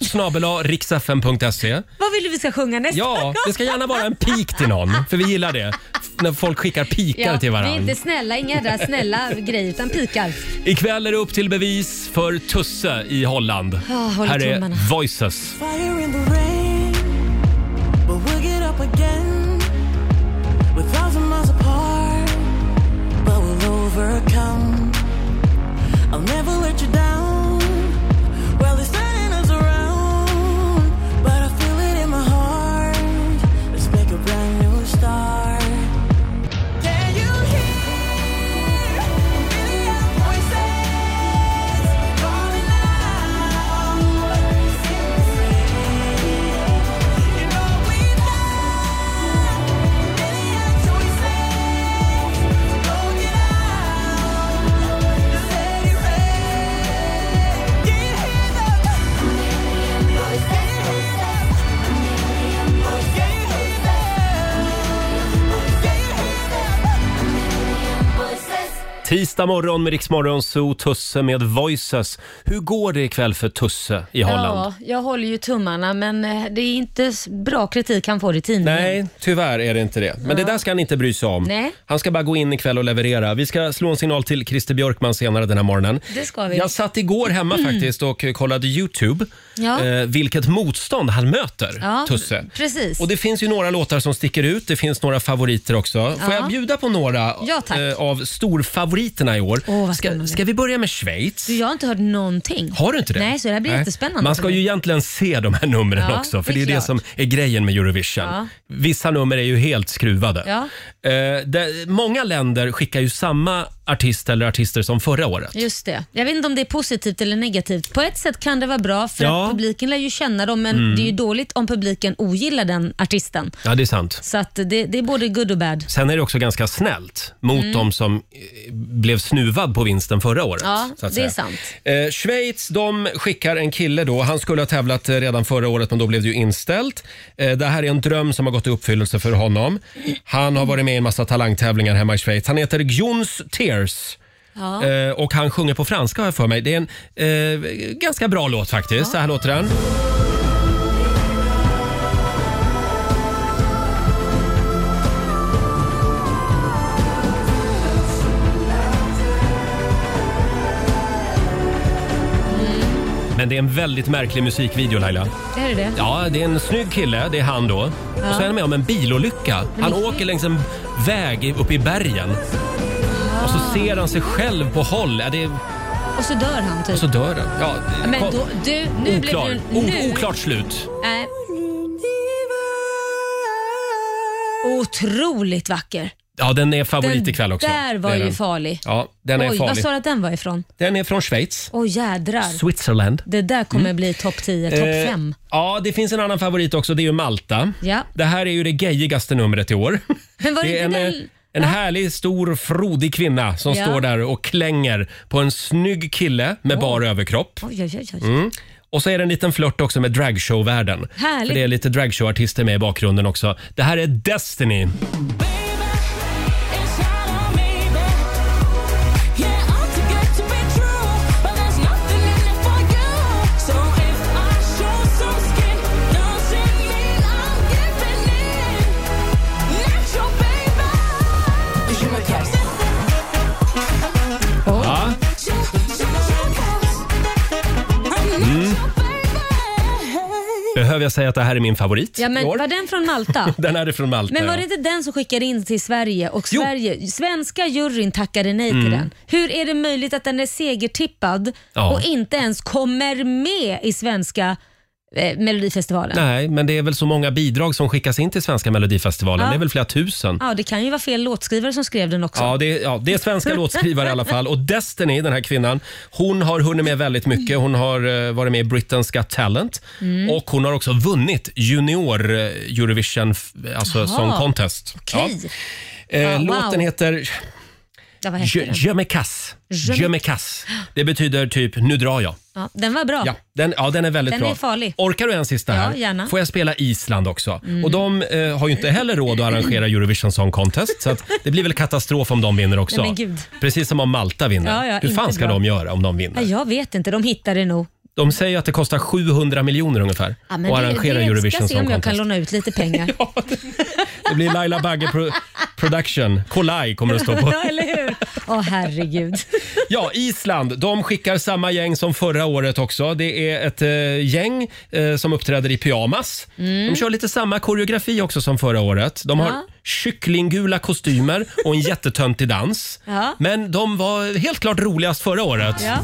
A: riksfm.se
B: Vad vill du vi ska sjunga nästa
A: Ja,
B: gång?
A: det ska gärna vara en pik till någon, för vi gillar det. F- När folk skickar pikar
B: Ja,
A: till
B: Vi är
A: varandra.
B: inte snälla, inga jädra snälla grejer utan pikar.
A: Ikväll är det upp till bevis för Tusse i Holland.
B: Ja, håller
A: Här
B: Ah, tummarna.
A: är Voices.
F: Fire in the rain, but we'll get up again. We're thousand miles apart, but we'll overcome. I'll never let you down. Well, they're turning us around, but I feel it in my heart. Let's make a brand new start. Can you hear a million voices calling out?
A: Tisdag morgon med Riksmorgon Zoo, Tusse med Voices. Hur går det ikväll för Tusse i Holland?
B: Ja, jag håller ju tummarna men eh, det är inte s- bra kritik han får i tidningen.
A: Nej, tyvärr är det inte det. Men det där ska han inte bry sig om.
B: Nej.
A: Han ska bara gå in ikväll och leverera. Vi ska slå en signal till Christer Björkman senare den här morgonen.
B: Det ska vi. Mm.
A: Jag satt igår hemma faktiskt och kollade YouTube.
B: Ja.
A: Eh, vilket motstånd han möter,
B: Ja,
A: Tusse.
B: precis.
A: Och det finns ju några låtar som sticker ut. Det finns några favoriter också. Får
B: Ja.
A: jag bjuda på några
B: Ja, tack.
A: eh, av storfavoriterna i år?
B: Åh, vad
A: ska,
B: spännande.
A: ska vi börja med Schweiz?
B: Du, jag har inte hört någonting.
A: Har du inte det?
B: Nej, så det här blir jättespännande.
A: Man ska
B: för
A: ju
B: mig.
A: egentligen se de här numren
B: Ja,
A: också, för det
B: det
A: är
B: är
A: det
B: klart.
A: som är grejen med Eurovision.
B: Ja.
A: Vissa nummer är ju helt skruvade.
B: Ja.
A: Eh, det, många länder skickar ju samma artist eller artister som förra året.
B: Just det. Jag vet inte om det är positivt eller negativt. På ett sätt kan det vara bra för
A: Ja. Mm.
B: att publiken lär ju känna dem men det är ju dåligt om publiken ogillar den artisten.
A: Ja, det är sant.
B: Så att det, det är både good och bad.
A: Sen är det också ganska snällt mot
B: Mm.
A: de som eh, blev snuvad på vinsten förra året.
B: Ja,
A: så att
B: det
A: säga.
B: är sant.
A: Eh, Schweiz de skickar en kille då. Han skulle ha tävlat eh, redan förra året men då blev det ju inställt. Eh, det här är en dröm som har gått i uppfyllelse för honom. Han har varit med i en massa talangtävlingar hemma i Schweiz. Han heter Jons Tears.
B: Ja.
A: Eh, och han sjunger på franska har jag för mig. Det är en eh, ganska bra låt faktiskt. Så här låter den. Men det är en väldigt märklig musikvideo Laila.
B: Är det det?
A: Ja, det är en snygg kille, det är han då. Och så är han med om en bilolycka. Han åker längs en väg i- uppe i bergen. Och
B: Ah.
A: så ser han sig själv på håll. Ja, det är,
B: Och så dör han typ.
A: och så dör han. Ja, det-
B: men
A: kom-
B: då, du, nu
A: oklar.
B: blev du...
A: O-
B: Nu,
A: oklart slut.
B: Nej. Otroligt vacker.
A: Ja, den är favorit
B: Den
A: ikväll också.
B: där var
A: Det är
B: ju
A: den.
B: farlig.
A: Ja, den är
B: Oj, vad
A: farlig.
B: sa du att den var ifrån?
A: Den är från Schweiz.
B: Åh jädrar.
A: Switzerland.
B: Det där kommer bli topp 10, topp
A: Mm. Eh,
B: 5.
A: Ja, det finns en annan favorit också. Det är ju Malta.
B: Ja.
A: Det här är ju det gayigaste numret i år.
B: Men var det
A: är en,
B: inte
A: eh,
B: den-
A: en härlig, stor, frodig kvinna som
B: Ja.
A: står där och klänger på en snygg kille med bar överkropp.
B: Oj, oj, oj. oj.
A: Mm. Och så är det en liten flört också med dragshow-världen.
B: Härligt.
A: För det är lite dragshowartister med i bakgrunden också. Det här är Destiny.
F: You're my captain.
A: behöver jag säga att det här är min favorit
B: Ja,
A: i
B: men
A: år.
B: var den från Malta?
A: Den här är från Malta.
B: Men var
A: ja.
B: det inte den som skickade in till Sverige och
A: Jo.
B: Sverige, svenska juryn tackade nej
A: Mm.
B: till den? Hur är det möjligt att den är segertippad
A: Ja.
B: och inte ens kommer med i svenska eh, Melodifestivalen?
A: Nej, men det är väl så många bidrag som skickas in till Svenska Melodifestivalen.
B: Ja.
A: Det är väl flera tusen.
B: Ja, det kan ju vara fel låtskrivare som skrev den också.
A: Ja det, är, ja, det är svenska låtskrivare i alla fall. Och Destiny, den här kvinnan, hon har hunnit med väldigt mycket. Hon har eh, varit med i Britain's Got Talent
B: Mm.
A: och hon har också vunnit junior eh, Eurovision, f- alltså
B: Jaha.
A: Song Contest.
B: Okej.
A: Ja. Eh,
B: Ah, wow.
A: Låten heter
B: Ja, vad hette
A: Je,
B: den?
A: je me casse.
B: Je me-
A: Je me casse. Det betyder typ nu drar jag.
B: Ja, den var bra.
A: Ja, den, ja, den är väldigt
B: Den
A: bra.
B: är farlig.
A: Orkar du en sista här?
B: Ja, gärna.
A: Får jag spela Island också?
B: Mm.
A: Och de eh, har ju inte heller råd att arrangera Eurovision Song Contest så att det blir väl katastrof om de vinner också.
B: Nej, men gud.
A: Precis som om Malta vinner.
B: Ja, ja,
A: Hur fan
B: inte
A: ska
B: bra.
A: de göra om de
B: Ja,
A: vinner?
B: jag vet inte, de hittade det nog.
A: De säger att det kostar 700 miljoner ungefär
B: Ja,
A: att arrangera Eurovision
B: ska se
A: Song
B: om jag
A: Contest.
B: kan låna ut lite pengar.
A: Det blir Laila Bagge pro- Production. Kolaj kommer det att stå på.
B: ja, eller hur? Åh, herregud.
A: Ja, Island. De skickar samma gäng som förra året också. Det är ett eh, gäng eh, som uppträder i pyjamas.
C: Mm.
A: De kör lite samma koreografi också som förra året. De har
C: Ja.
A: kycklinggula kostymer och en jättetöntig dans.
C: Ja.
A: Men de var helt klart roligast förra året.
C: Ja.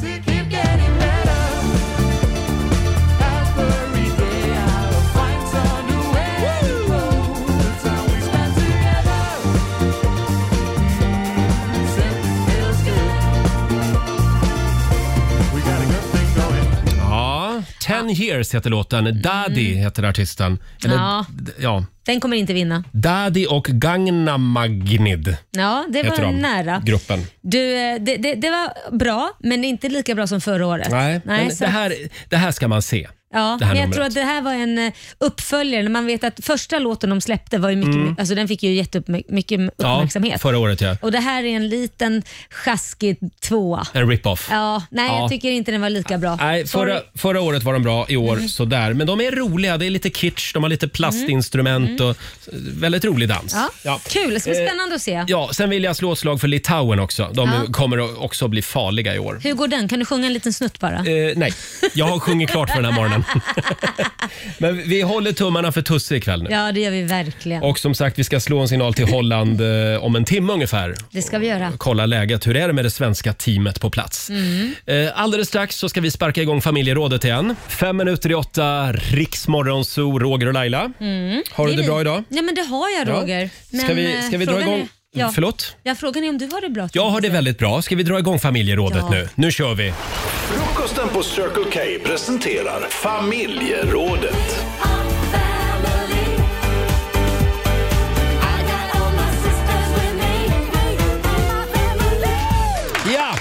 A: Ja, Ten years heter låten. Daddy heter artisten. Eller,
B: Ja.
A: ja. ja.
B: Den kommer inte vinna.
A: Daddy och Gangnam Magnid
B: Ja, det var
A: heter de,
B: nära.
A: gruppen.
B: Du, eh, det, det, det var bra, men inte lika bra som förra året.
A: Nej, men
B: så
A: det,
B: att-
A: här, det här ska man se.
B: Ja,
A: det här
B: men jag
A: numret.
B: tror att det här var en eh, uppföljare. när Man vet att första låten de släppte var ju mycket,
A: Mm.
B: alltså den fick ju jättemycket
A: Ja,
B: uppmärksamhet.
A: förra året ja.
B: Och det här är en liten sjaskig tvåa.
A: En rip-off.
B: Ja, nej
A: Ja.
B: jag tycker inte den var lika bra.
A: Nej,
B: Sorry. Mm.
A: förra, förra året var de bra, i år sådär. Men de är roliga. Det är lite kitsch, de har lite plastinstrument
B: Mm.
A: och eh, väldigt rolig dans.
B: Ja. Kul, det ska bli
A: Eh,
B: spännande att se.
A: Ja, sen vill jag slå ett slag för Litauen också. De
B: Ja.
A: kommer att också bli farliga i år.
B: Hur går den? Kan du sjunga en liten snutt bara?
A: Eh, nej, jag har sjungit klart för den här morgonen. Men vi håller tummarna för Tusse ikväll nu.
B: Ja, det gör vi verkligen.
A: Och som sagt, vi ska slå en signal till Holland eh, om en timme ungefär.
B: Det ska vi göra.
A: Kolla läget. Hur är det med det svenska teamet på plats?
B: Mm.
A: Eh, Alldeles strax så ska vi sparka igång familjerådet igen. Fem minuter i åtta, Riksmorgonzoo, Roger och Laila.
B: Mm.
A: Har du
B: är
A: det
B: vi.
A: bra idag?
B: Ja, men det har jag
A: Ja.
B: Roger. Men,
A: Ska vi, ska vi
B: eh,
A: dra
B: frågan
A: igång?
B: Är, ja.
A: Förlåt?
B: Ja, frågan är om du har det bra.
A: Jag har det väldigt bra. Ska vi dra igång familjerådet
B: Ja.
A: nu? Nu kör vi!
C: Frukosten på Circle K presenterar Familjerådet.
A: Ja!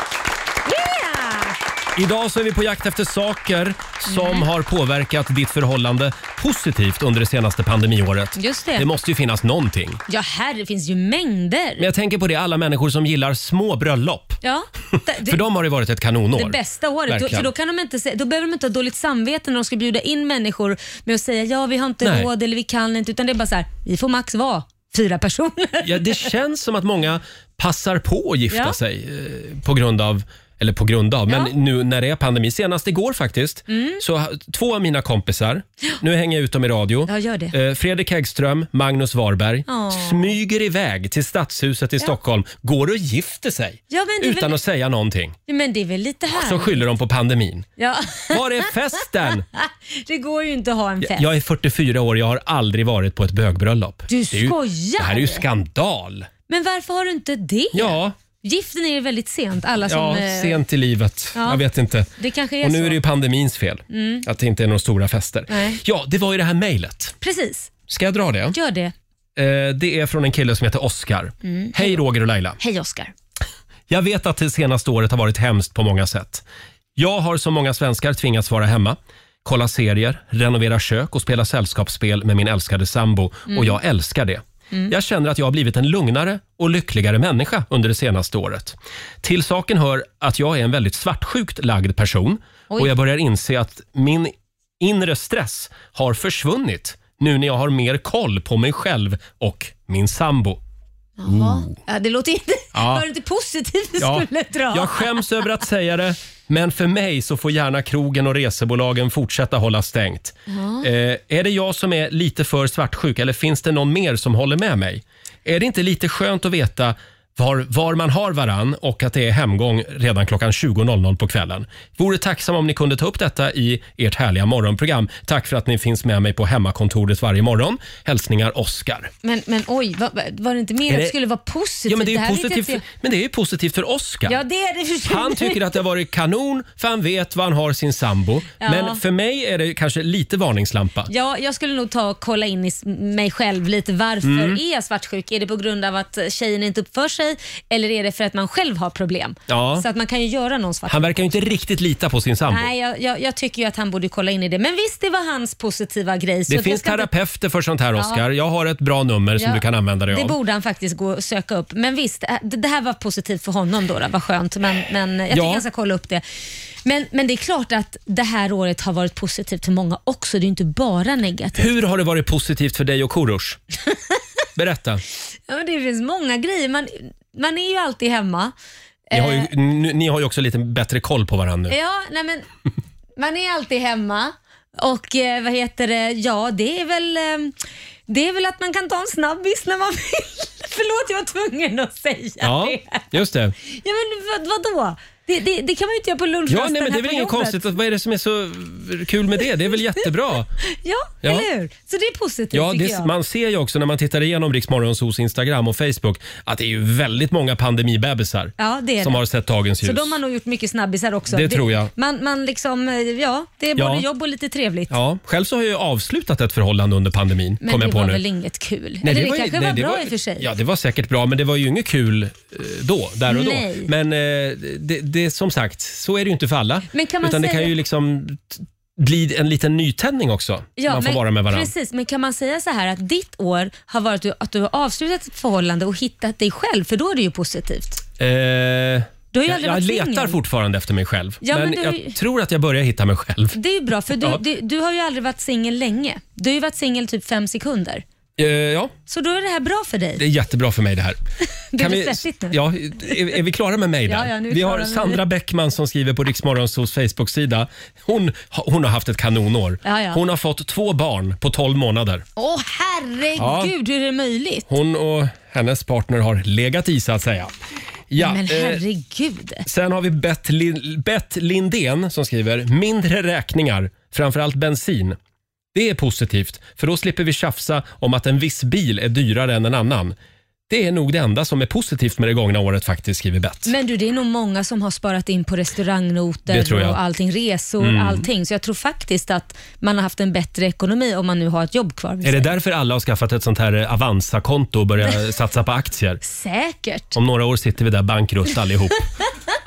A: Idag så är vi på jakt efter saker som
B: Mm.
A: har påverkat ditt förhållande positivt under det senaste pandemiåret.
B: Just det.
A: Det måste ju finnas någonting.
B: Ja, här det finns ju mängder.
A: Men jag tänker på det alla människor som gillar små bröllop.
B: Ja, det, det,
A: För dem har det varit ett kanonår.
B: det bästa året. Då,
A: Verkligen.
B: för då, kan de inte, se- då behöver de inte ha dåligt samvete när de ska bjuda in människor med att säga ja, vi har inte
A: Nej.
B: råd eller vi kan inte. Utan det är bara så här, vi får max vara fyra personer.
A: Ja, det känns som att många passar på att gifta
B: Ja.
A: sig eh, på grund av eller på grund av, men
B: Ja.
A: nu när det är pandemi. Senast igår faktiskt,
B: Mm.
A: så ha- två av mina kompisar, nu hänger jag ut dem i radio.
B: Ja, gör det.
A: Eh, Fredrik Häggström, Magnus Warberg,
B: Ja.
A: smyger iväg till Stadshuset i Stockholm, går och gifter sig
B: Ja, men det är
A: utan
B: väl-
A: att säga någonting.
B: Ja, Men det är väl lite här.
A: Så skyller de på pandemin.
B: ja.
A: Var är festen?
B: Det går ju inte att ha en fest.
A: Jag är 44 år, jag har aldrig varit på ett bögbröllop.
B: Du
A: Det är ju-
B: skojar!
A: Det här är ju skandal.
B: Men varför har du inte det?
A: Ja.
B: Giften är ju väldigt sent. Alla som,
A: Ja,
B: eh,
A: sent i livet.
B: Ja.
A: Jag vet inte.
B: Det kanske är
A: Och nu
B: så.
A: är det ju pandemins fel
B: Mm.
A: att det inte är några stora fester.
B: Nej.
A: Ja, det var ju det här mejlet.
B: Precis,
A: Ska jag dra det?
B: gör det.
A: Eh, Det är från en kille som heter Oskar.
B: Mm.
A: Hej Roger och Laila.
B: Hej Oskar.
A: Jag vet att det senaste året har varit hemskt på många sätt. Jag har som många svenskar tvingats vara hemma, kolla serier, renovera kök och spela sällskapsspel med min älskade sambo
C: Mm.
A: och jag älskar det.
C: Mm.
A: Jag känner att jag har blivit en lugnare och lyckligare människa under det senaste året. Till saken hör att jag är en väldigt svartsjukt lagd person
C: Oj.
A: och jag börjar inse att min inre stress har försvunnit nu när jag har mer koll på mig själv och min sambo.
B: Jaha. Ja, det låter inte...
A: Mm. Ja.
B: Var det inte positivt du skulle dra?
A: Jag skäms över att säga det, Men för mig så får gärna krogen och resebolagen fortsätta hålla stängt.
B: Ja.
A: Eh, är det jag som är lite för svartsjuk eller finns det någon mer som håller med mig? Är det inte lite skönt att veta var, var man har varann och att det är hemgång redan klockan 20.00 på kvällen? Vore tacksam om ni kunde ta upp detta i ert härliga morgonprogram. Tack för att ni finns med mig på hemmakontoret varje morgon. Hälsningar Oskar.
B: Men, men oj, var, var det inte
A: Är
B: mer
A: det-
B: typ det skulle vara positivt?
A: Ja, men det är
B: här
A: ju
B: vet jag
A: positivt,
B: inte
A: för, men det är ju positivt för Oskar.
B: jag- Ja, det är det förstås.
A: Han tycker att det har varit kanon för han vet var han har sin sambo.
B: Ja.
A: Men för mig är det kanske lite varningslampa.
B: Ja, jag skulle nog ta och kolla in i s- mig själv lite. Varför
A: Mm.
B: är jag svartsjuk? Är det på grund av att tjejen inte uppför sig eller är det för att man själv har problem?
A: Ja.
B: Så att man kan ju göra någon svartsjuk.
A: Han verkar ju inte riktigt lita på sin sambo.
B: Nej, jag, jag, jag tycker ju att han borde kolla in i det. Men visst, det var hans positiva grej. så
A: det
B: att jag
A: finns
B: ska inte-
A: terapeuter för sånt här Oskar.
B: Ja.
A: Jag har ett bra nummer som
B: Ja,
A: du kan använda dig
B: Det
A: av.
B: borde han faktiskt gå och söka upp. Men visst, äh, det det här var positivt för honom då, då vad skönt. Men, men jag tycker
A: Ja.
B: han ska kolla upp det. Men, men det är klart att det här året har varit positivt för många också. Det är ju inte bara negativt.
A: Hur har det varit positivt för dig och Korosh? Berätta.
B: Ja, men det finns många grejer. Man, man är ju alltid hemma.
A: Ni har, ju,
B: Eh.
A: n- ni har ju också lite bättre koll på varandra nu.
B: Ja, nej men man är alltid hemma och eh, vad heter det, ja det är väl eh, det är väl att man kan ta en snabbis när man vill. Förlåt, jag var tvungen att säga
A: Ja,
B: det.
A: just det.
B: Ja, men vad, vadå? Det, det, det kan man ju inte göra på lunchrasten
A: Ja, nej, men det
B: här
A: är väl
B: på
A: inget
B: jobbet.
A: konstigt. Vad är det som är så kul med det? Det är väl jättebra?
B: Ja,
A: Ja.
B: eller hur? Så det är positivt
A: Ja,
B: tycker
A: det,
B: jag.
A: man ser ju också när man tittar igenom Riksmorgonsos Instagram och Facebook att det är ju väldigt många pandemibebisar
B: Ja, det är
A: som
B: det.
A: har sett dagens ljus.
B: Så de har nog gjort mycket snabbisar också.
A: Det tror jag.
B: Man, man liksom, eh, ja, det är
A: Ja.
B: både jobb och lite trevligt.
A: Ja, själv så har jag ju avslutat ett förhållande under pandemin.
B: Men
A: kom
B: det
A: jag på
B: var
A: nu.
B: väl inget kul? Nej, Eller det,
A: ju-
B: kanske
A: nej,
B: var
A: det
B: bra i och för sig.
A: Ja, det var säkert bra, men det var ju inget kul eh, då, där och
B: Nej.
A: då. Men eh, det, det, som sagt, så är det ju inte för alla.
B: Men kan man
A: utan det
B: säga-
A: kan ju liksom t- bli en liten nytändning också, när man får
B: men-
A: vara med varandra.
B: Precis, men kan man säga så här att ditt år har varit att du har avslutat ett förhållande och hittat dig själv, för då är det ju positivt.
A: Eh,
B: Du har ju
A: jag
B: aldrig
A: jag
B: varit
A: letar
B: singel.
A: fortfarande efter mig själv,
B: Ja,
A: men,
B: men du-
A: jag tror att jag börjar hitta mig själv.
B: Det är ju bra, för du,
A: Ja.
B: du, du har ju aldrig varit singel länge. Du har ju varit singel typ fem sekunder.
A: Eh, ja,
B: Så då är det här bra för dig.
A: det är jättebra för mig det här.
B: Blev det svettigt nu?
A: Ja, är, är vi klara med mig där?
B: Ja, ja, nu är vi
A: vi
B: klara
A: har
B: med
A: Sandra Bäckman som skriver på Riksmorgonsols Facebook-sida. Hon, ha- hon har haft ett kanonår.
B: Ja, ja.
A: Hon har fått två barn på 12 månader.
B: Åh herregud, hur är det möjligt?
A: Hon och hennes partner har legat i så att säga. Ja,
B: men
A: eh,
B: herregud.
A: sen har vi Bett, Lin- Bett Lindén som skriver “Mindre räkningar, framförallt bensin. Det är positivt, för då slipper vi tjafsa om att en viss bil är dyrare än en annan. Det är nog det enda som är positivt med det gångna året faktiskt, skriver Bett.
B: Men du, det är nog många som har sparat in på
A: Det tror
B: restaurangnoter
A: jag. Mm.
B: och allting, resor, allting. Så jag tror faktiskt att man har haft en bättre ekonomi om man nu har ett jobb kvar.
A: Är det därför alla har skaffat ett sånt här eh, Avanza-konto och börjat satsa på aktier?
B: Säkert.
A: Om några år sitter vi där bankrutt allihop.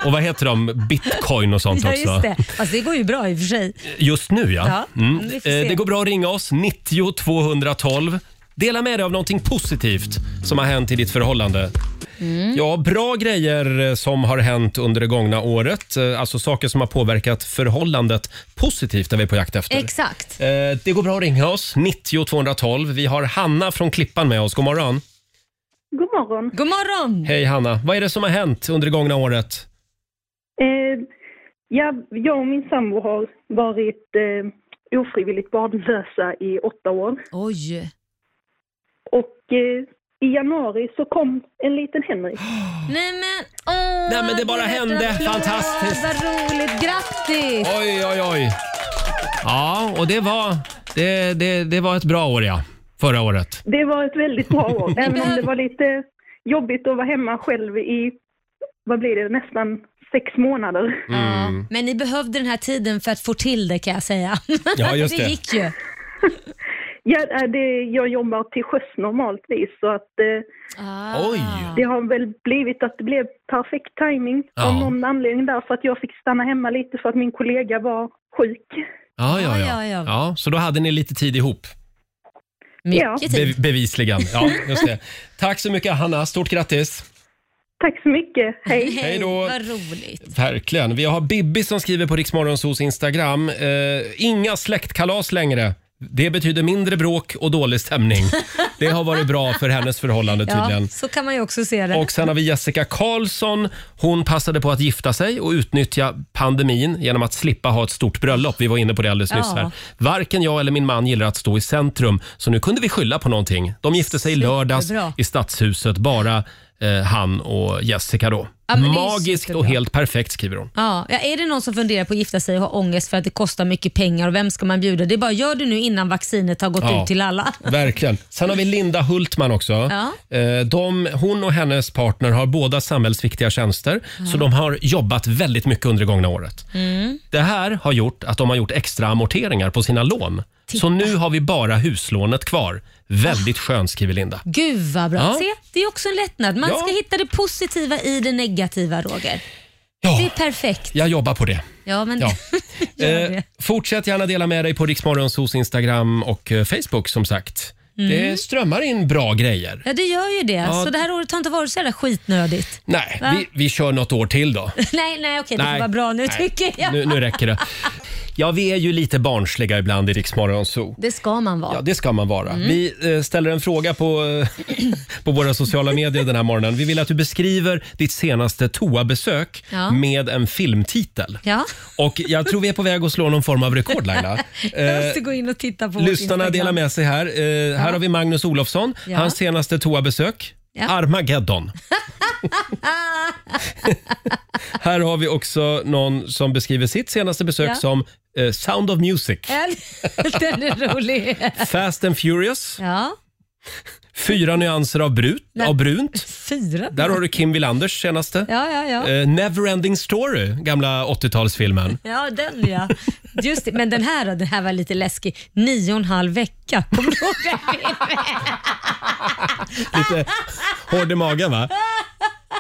A: Och vad heter de? Bitcoin och sånt
B: Ja,
A: också.
B: just det. Fast det går ju bra i och för sig.
A: Just nu ja.
B: Ja,
A: Mm.
B: vi får se.
A: Eh, Det går bra att ringa oss, 90 212. Dela med dig av någonting positivt som har hänt i ditt förhållande.
B: Mm.
A: Ja, bra grejer eh, som har hänt under det gångna året. Eh, Alltså saker som har påverkat förhållandet positivt är vi på jakt efter.
B: Exakt.
A: Eh, Det går bra att ringa oss, 90 212. Vi har Hanna från Klippan med oss. God morgon.
E: God morgon.
B: God morgon!
A: Hej Hanna. Vad är det som har hänt under det gångna året?
E: Eh, ja, jag och min sambo har varit eh, ofrivilligt barnlösa i åtta år.
B: Oj.
E: Och eh, i januari så kom en liten Henrik.
B: Nej men, åh,
A: Nej, men det bara hände.
B: klart.
A: Fantastiskt.
B: Vad roligt. Grattis!
A: Oj, oj, oj. Ja, och det var, det, det, det var ett bra år ja. Förra året.
E: Det var ett väldigt bra år, även om det var lite jobbigt att vara hemma själv i, vad blir det, nästan sex månader.
A: Mm.
B: Ja, men ni behövde den här tiden för att få till det kan jag säga.
A: Ja, just det.
B: det gick ju.
E: Ja, eh, det, jag jobbar till sjöss normaltvis så att eh,
B: Ah.
A: Oj.
E: det har väl blivit att det blev perfekt timing
A: Ja.
E: av någon anledning där för att jag fick stanna hemma lite för att min kollega var sjuk.
A: Ja, ja,
B: Ja,
A: ja.
B: ja, ja.
A: ja så då hade ni lite tid ihop,
E: Ja.
B: Mycket
A: be
B: tid.
A: bevisligen. Ja, just det. Tack så mycket Hanna, stort grattis.
E: Tack så mycket, hej!
A: Hej då.
B: Vad roligt.
A: Verkligen. Vi har Bibi som skriver på Riksmorgonsos Instagram. Eh, inga släktkalas längre. Det betyder mindre bråk och dålig stämning. Det har varit bra för hennes förhållande
B: Ja,
A: tydligen.
B: så kan man ju också se det.
A: Och sen har vi Jessica Karlsson. Hon passade på att gifta sig och utnyttja pandemin genom att slippa ha ett stort bröllop. Vi var inne på det alldeles nyss
B: Ja.
A: här. Varken jag eller min man gillar att stå i centrum, så nu kunde vi skylla på någonting. De gifte sig i lördags
B: Superbra.
A: i Stadshuset, bara eh, han och Jessica då.
B: Ja, men det är ju
A: Magiskt och
B: superbra.
A: helt perfekt skriver hon.
B: Ja, ja, är det någon som funderar på att gifta sig och har ångest för att det kostar mycket pengar och vem ska man bjuda? Det är bara gör det nu innan vaccinet har gått
A: Ja.
B: ut till alla.
A: Verkligen. Sen har vi Linda Hultman också.
B: Ja.
A: Eh, De, hon och hennes partner har båda samhällsviktiga tjänster, så de har jobbat väldigt mycket under det gångna året.
B: Mm.
A: Det här har gjort att de har gjort extra amorteringar på sina lån. Så nu har vi bara huslånet kvar. Väldigt skönt, skriver Linda.
B: Gud vad bra.
A: Ja.
B: Se, det är också en lättnad. Man
A: Ja.
B: ska hitta det positiva i det negativa, Roger. Det är
A: Ja,
B: perfekt.
A: jag jobbar på det.
B: Ja, men
A: Ja.
B: gör
A: Eh,
B: det.
A: fortsätt gärna dela med dig på Riksmorgonsos Instagram och eh, Facebook som sagt.
B: Mm.
A: Det strömmar in bra grejer.
B: Ja, det gör ju det. Så det här året har inte varit så jävla skitnödigt.
A: Nej,
B: Va?
A: vi, vi kör något år till då.
B: nej, nej, okej, det
A: Nej.
B: får vara bra nu
A: Nej.
B: tycker jag.
A: Nu, nu räcker det. Ja, vi är ju lite barnsliga ibland i Rix Morgon Zoo.
B: Det ska man vara.
A: Ja, det ska man vara.
B: Mm.
A: Vi eh, ställer en fråga på, eh, på våra sociala medier den här morgonen. Vi vill att du beskriver ditt senaste toabesök
B: Ja.
A: med en filmtitel.
B: Ja.
A: Och jag tror vi är på väg att slå någon form av rekord Laila.
B: Jag
A: Eh,
B: måste gå in och titta på vårt
A: lyssnarna
B: Instagram.
A: delar med sig här. Eh, här har vi Magnus Olofsson,
B: Ja.
A: hans senaste toabesök.
B: Ja.
A: Armageddon. här har vi också någon som beskriver sitt senaste besök
B: Ja.
A: som eh, Sound of Music.
B: Eller- Den är rolig.
A: Fast and Furious,
B: Ja,
A: Fyra nyanser av, brut,
B: Nej.
A: av brunt.
B: fyra.
A: Där har du Kim Willanders senaste.
B: Ja, ja, ja.
A: Eh, Neverending Story, gamla 80-talsfilmen.
B: Ja, den ja. Just det. Men den här då, den här var lite läskig. Nio och en halv vecka. Kommer du ihåg den filmen?
A: Lite hård i magen va?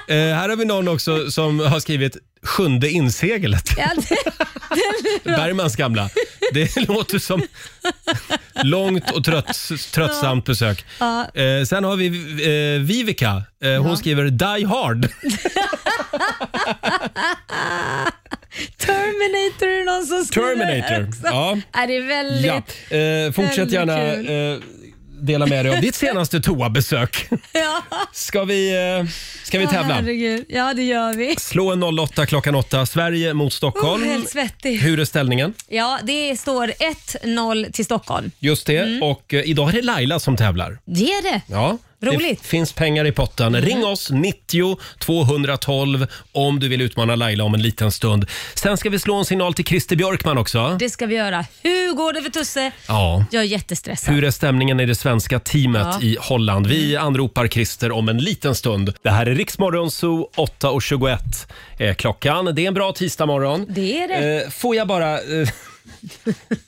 A: Eh, här har vi någon också som har skrivit Sjunde inseglet.
B: Ja, det-
A: Bergmans gamla. Det låter som långt och trött, tröttsamt besök. Eh, sen har vi eh, Vivica. Eh, hon skriver Die Hard.
B: Terminator är någon som skriver
A: Terminator,
B: också.
A: ja.
B: Är det är väldigt...
A: Ja. Eh, fortsätt
B: Väldigt
A: gärna eh, dela med dig av ditt senaste toabesök.
B: Ja.
A: Ska vi, eh, ska vi tävla?
B: Herregud. Ja, det gör vi.
A: Slå en 08 klockan 8. Sverige mot
B: Oh,
A: Stockholm.
B: helt svettig.
A: Hur är ställningen?
B: Ja, det står 1-0 till Stockholm.
A: Just det.
B: Mm.
A: Och eh, idag är det Laila som tävlar.
B: Det är det.
A: Ja.
B: Roligt. Mm.
A: Det finns pengar i potten. Ring oss, 90 212 om du vill utmana Laila om en liten stund. Sen ska vi slå en signal till Christer Björkman också.
B: Det ska vi göra. Hur går det för Tusse?
A: Ja.
B: Jag är jättestressad.
A: Hur är stämningen i det svenska teamet
B: Ja.
A: i Holland? Vi anropar Christer om en liten stund. Det här är Riksmorgon Zoo, 8.21 är klockan. Det är en bra tisdagmorgon.
B: Det är det.
A: Eh, får jag bara eh,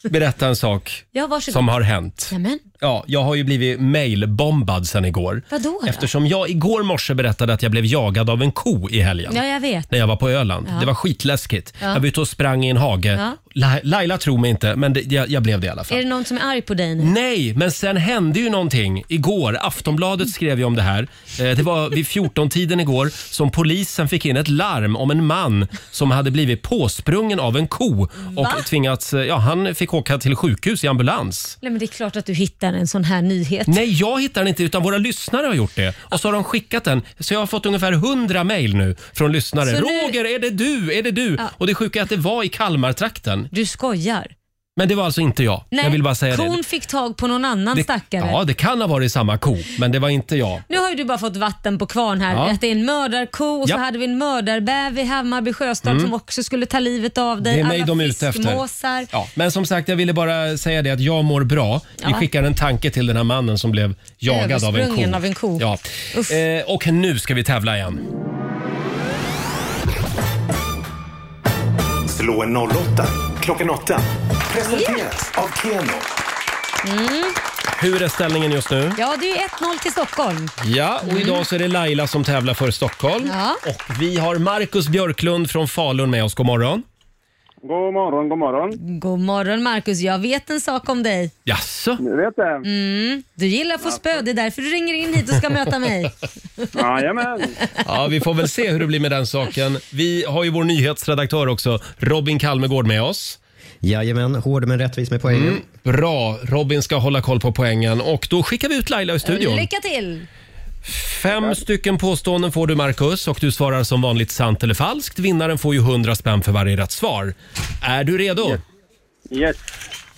A: berätta en sak
B: Ja, varsågod.
A: som har hänt?
B: Jamen.
A: Ja, jag har ju blivit mailbombad sen igår.
B: Vadå då?
A: Eftersom jag igår morse berättade att jag blev jagad av en ko i helgen.
B: Ja, jag vet.
A: När jag var på Öland. Det var skitläskigt. Jag var ute och sprang i en hage. La- Laila tror mig inte, men det, jag, jag blev det i alla fall.
B: Är det någon som är arg på dig nu?
A: Nej, men sen hände ju någonting igår. Aftonbladet skrev ju om det här. Eh, Det var vid 14-tiden igår som polisen fick in ett larm om en man som hade blivit påsprungen av en ko och
B: Va?
A: tvingats, eh, ja han fick åka till sjukhus i ambulans.
B: Nej, men det är klart att du hittar en sån här nyhet.
A: Nej, jag hittar den inte utan våra lyssnare har gjort det. Och så har de skickat den. Så jag har fått ungefär 100 mejl nu från lyssnare.
B: Så nu-
A: Roger, är det du? Är det du?
B: Ja.
A: Och det sjuka är att det var i Kalmartrakten.
B: Du skojar.
A: Men det var alltså inte jag.
B: Nej,
A: jag vill bara säga
B: kon
A: det.
B: fick tag på någon annan
A: det
B: stackare.
A: ja, det kan ha varit samma ko, men det var inte jag.
B: Nu har ju du bara fått vatten på kvarn här.
A: Ja.
B: Att det är en mördarko och
A: Ja. Mm.
B: så hade vi en mördarbäv i Hammarby sjöstad som också skulle ta livet av dig.
A: Det är mig
B: Alla
A: de är ute efter.
B: fiskmåsar.
A: Ja, men som sagt, jag ville bara säga det att jag mår bra. Vi
B: Ja.
A: skickar en tanke till den här mannen som blev jagad av en
B: Översprungen
A: ko.
B: av en ko.
A: Ja.
B: Uff.
A: Eh, och nu ska vi tävla igen.
G: Slå en 08 klockan 8. Presenteras av Keno.
A: Hur är ställningen just nu?
B: Ja, det är ju 1-0 till Stockholm.
A: Ja, och idag så är det Laila som tävlar för Stockholm.
B: Ja.
A: Och vi har Marcus Björklund från Falun med oss. God morgon.
D: God morgon, god morgon.
B: God morgon Marcus, jag vet en sak om dig.
A: Jaså?
D: Du vet det?
B: Du gillar att få spö, det är därför du ringer in hit och ska möta mig.
D: Jajamän.
A: Ja, vi får väl se hur det blir med den saken. Vi har ju vår nyhetsredaktör också, Robin Kalmegård med oss.
J: Jajamän, hård men rättvis med poängen.
A: Bra, Robin ska hålla koll på poängen och då skickar vi ut Laila i studion.
B: Lycka till!
A: Fem stycken påståenden får du Marcus och du svarar som vanligt sant eller falskt. Vinnaren får ju 100 spänn för varje rätt svar. Är du redo?
D: Yes.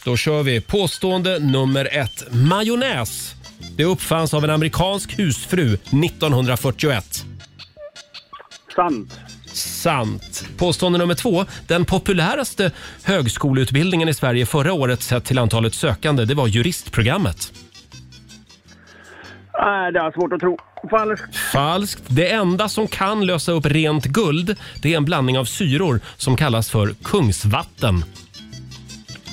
A: Då kör vi. Påstående nummer ett. Majonnäs. Det uppfanns av en amerikansk husfru 1941.
D: Sant.
A: Sant. Påstående nummer två. Den populäraste högskoleutbildningen i Sverige förra året sett till antalet sökande, det var juristprogrammet.
D: Nej, det är svårt att tro. Falskt.
A: Falskt. Det enda som kan lösa upp rent guld, det är en blandning av syror som kallas för kungsvatten.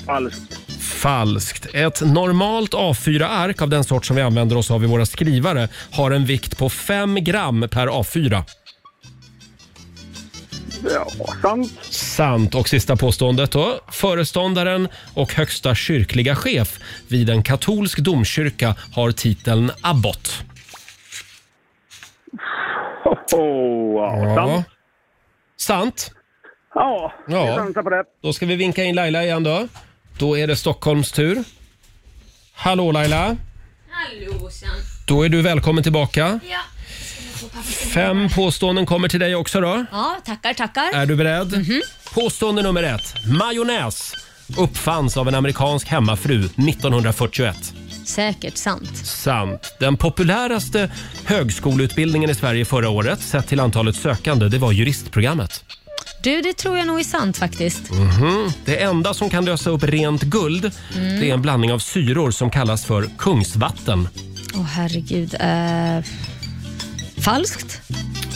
D: Falskt.
A: Falskt. Ett normalt A4-ark av den sort som vi använder oss av i våra skrivare har en vikt på 5 gram per A4.
D: Ja, sant.
A: Sant. Och sista påståendet då. Föreståndaren och högsta kyrkliga chef vid en katolsk domkyrka har titeln abbot.
D: Oh, ja, sant.
A: Sant.
D: Ja,
A: Ja.
D: vi chansar på det.
A: Då ska vi vinka in Laila igen då. Då är det Stockholms tur. Hallå Laila.
B: Hallå
A: Då är du välkommen tillbaka.
B: Ja.
A: Fem påståenden kommer till dig också då.
B: ja, tackar, tackar.
A: Är du beredd? Påstående nummer ett. Majonnäs uppfanns av en amerikansk hemmafru 1941.
B: Säkert sant.
A: Sant. Den populäraste högskoleutbildningen i Sverige förra året sett till antalet sökande, det var juristprogrammet.
B: Du, det tror jag nog är sant faktiskt.
A: Mhm. Det enda som kan lösa upp rent guld, det är en blandning av syror som kallas för kungsvatten.
B: Åh herregud. Eh, falskt?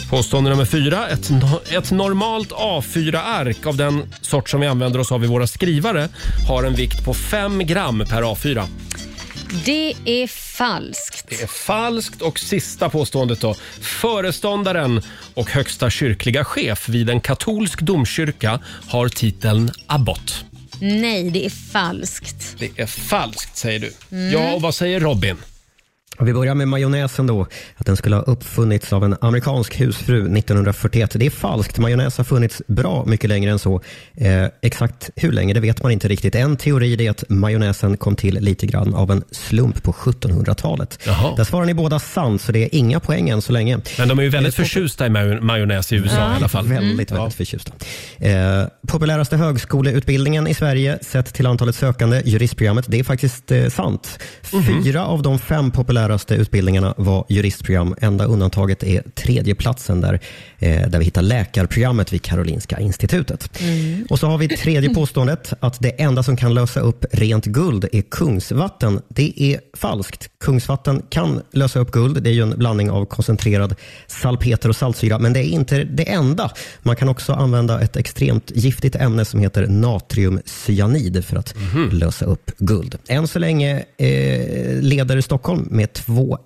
A: Påstående nummer fyra. Ett, no- ett normalt A4-ark av den sort som vi använder oss av i våra skrivare har en vikt på 5 gram per A4.
B: Det är falskt.
A: Det är falskt. Och sista påståendet då. Föreståndaren och högsta kyrkliga chef vid en katolsk domkyrka har titeln abbot.
B: Nej, det är falskt.
A: Det är falskt säger du. Ja, och vad säger Robin?
J: Och vi börjar med majonnäsen då, att den skulle ha uppfunnits av en amerikansk husfru 1941. Det är falskt. Majonnäs har funnits bra mycket längre än så. Eh, exakt hur länge, det vet man inte riktigt. En teori det är att majonnäsen kom till lite grann av en slump på 1700-talet.
A: Jaha.
J: Där svarar ni båda sant, så det är inga poäng än så länge.
A: Men de är ju väldigt förtjusta i maj- majonnäs i USA i alla fall. Mm.
J: Väldigt, väldigt förtjusta. Eh, populäraste högskoleutbildningen i Sverige sett till antalet sökande, juristprogrammet, det är faktiskt eh, sant.
A: Mhm.
J: Fyra av de fem populäraste utbildningarna var juristprogram. Enda undantaget är tredjeplatsen där, eh, där vi hittar läkarprogrammet vid Karolinska institutet. Och så har vi tredje påståendet, att det enda som kan lösa upp rent guld är kungsvatten. Det är falskt. Kungsvatten kan lösa upp guld. Det är ju en blandning av koncentrerad salpeter och saltsyra, men det är inte det enda. Man kan också använda ett extremt giftigt ämne som heter natriumcyanid för att lösa upp guld. Än så länge eh, leder Stockholm med 2-1.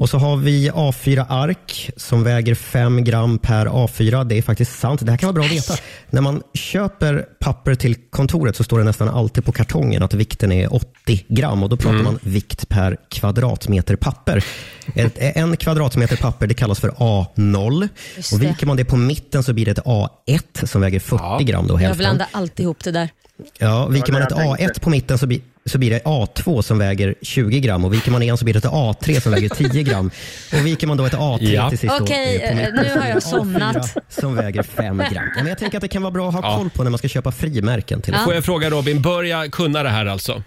J: Och så har vi A4-ark som väger 5 gram per A4. Det är faktiskt sant. Det här kan vara bra att veta. När man köper papper till kontoret så står det nästan alltid på kartongen att vikten är 80 gram och då pratar man vikt per kvadratmeter papper. Ett, en kvadratmeter papper det kallas för A0.
B: Just
J: Och
B: det.
J: viker man det på mitten så blir det ett A1 som väger 40 gram. Då,
B: Jag
J: hälften.
B: blandar alltid ihop det där.
J: Ja, viker man
D: det
J: ett
D: jag
J: A1
D: tänkte.
J: på mitten så, blir så blir det A2 som väger 20 gram och viker man igen så blir det ett A3 som väger 10 gram. Och viker man då ett A3
A: Ja.
J: till sist då,
B: Okej,
J: eh, på mitten
B: eh, nu
J: så
B: har jag
J: blir det
B: somnat.
J: A4 som väger 5 gram. Ja, Men jag tänker att det kan vara bra att ha
A: Ja.
J: koll på när man ska köpa frimärken. Till
A: Får jag fråga Robin, börja kunna det här alltså?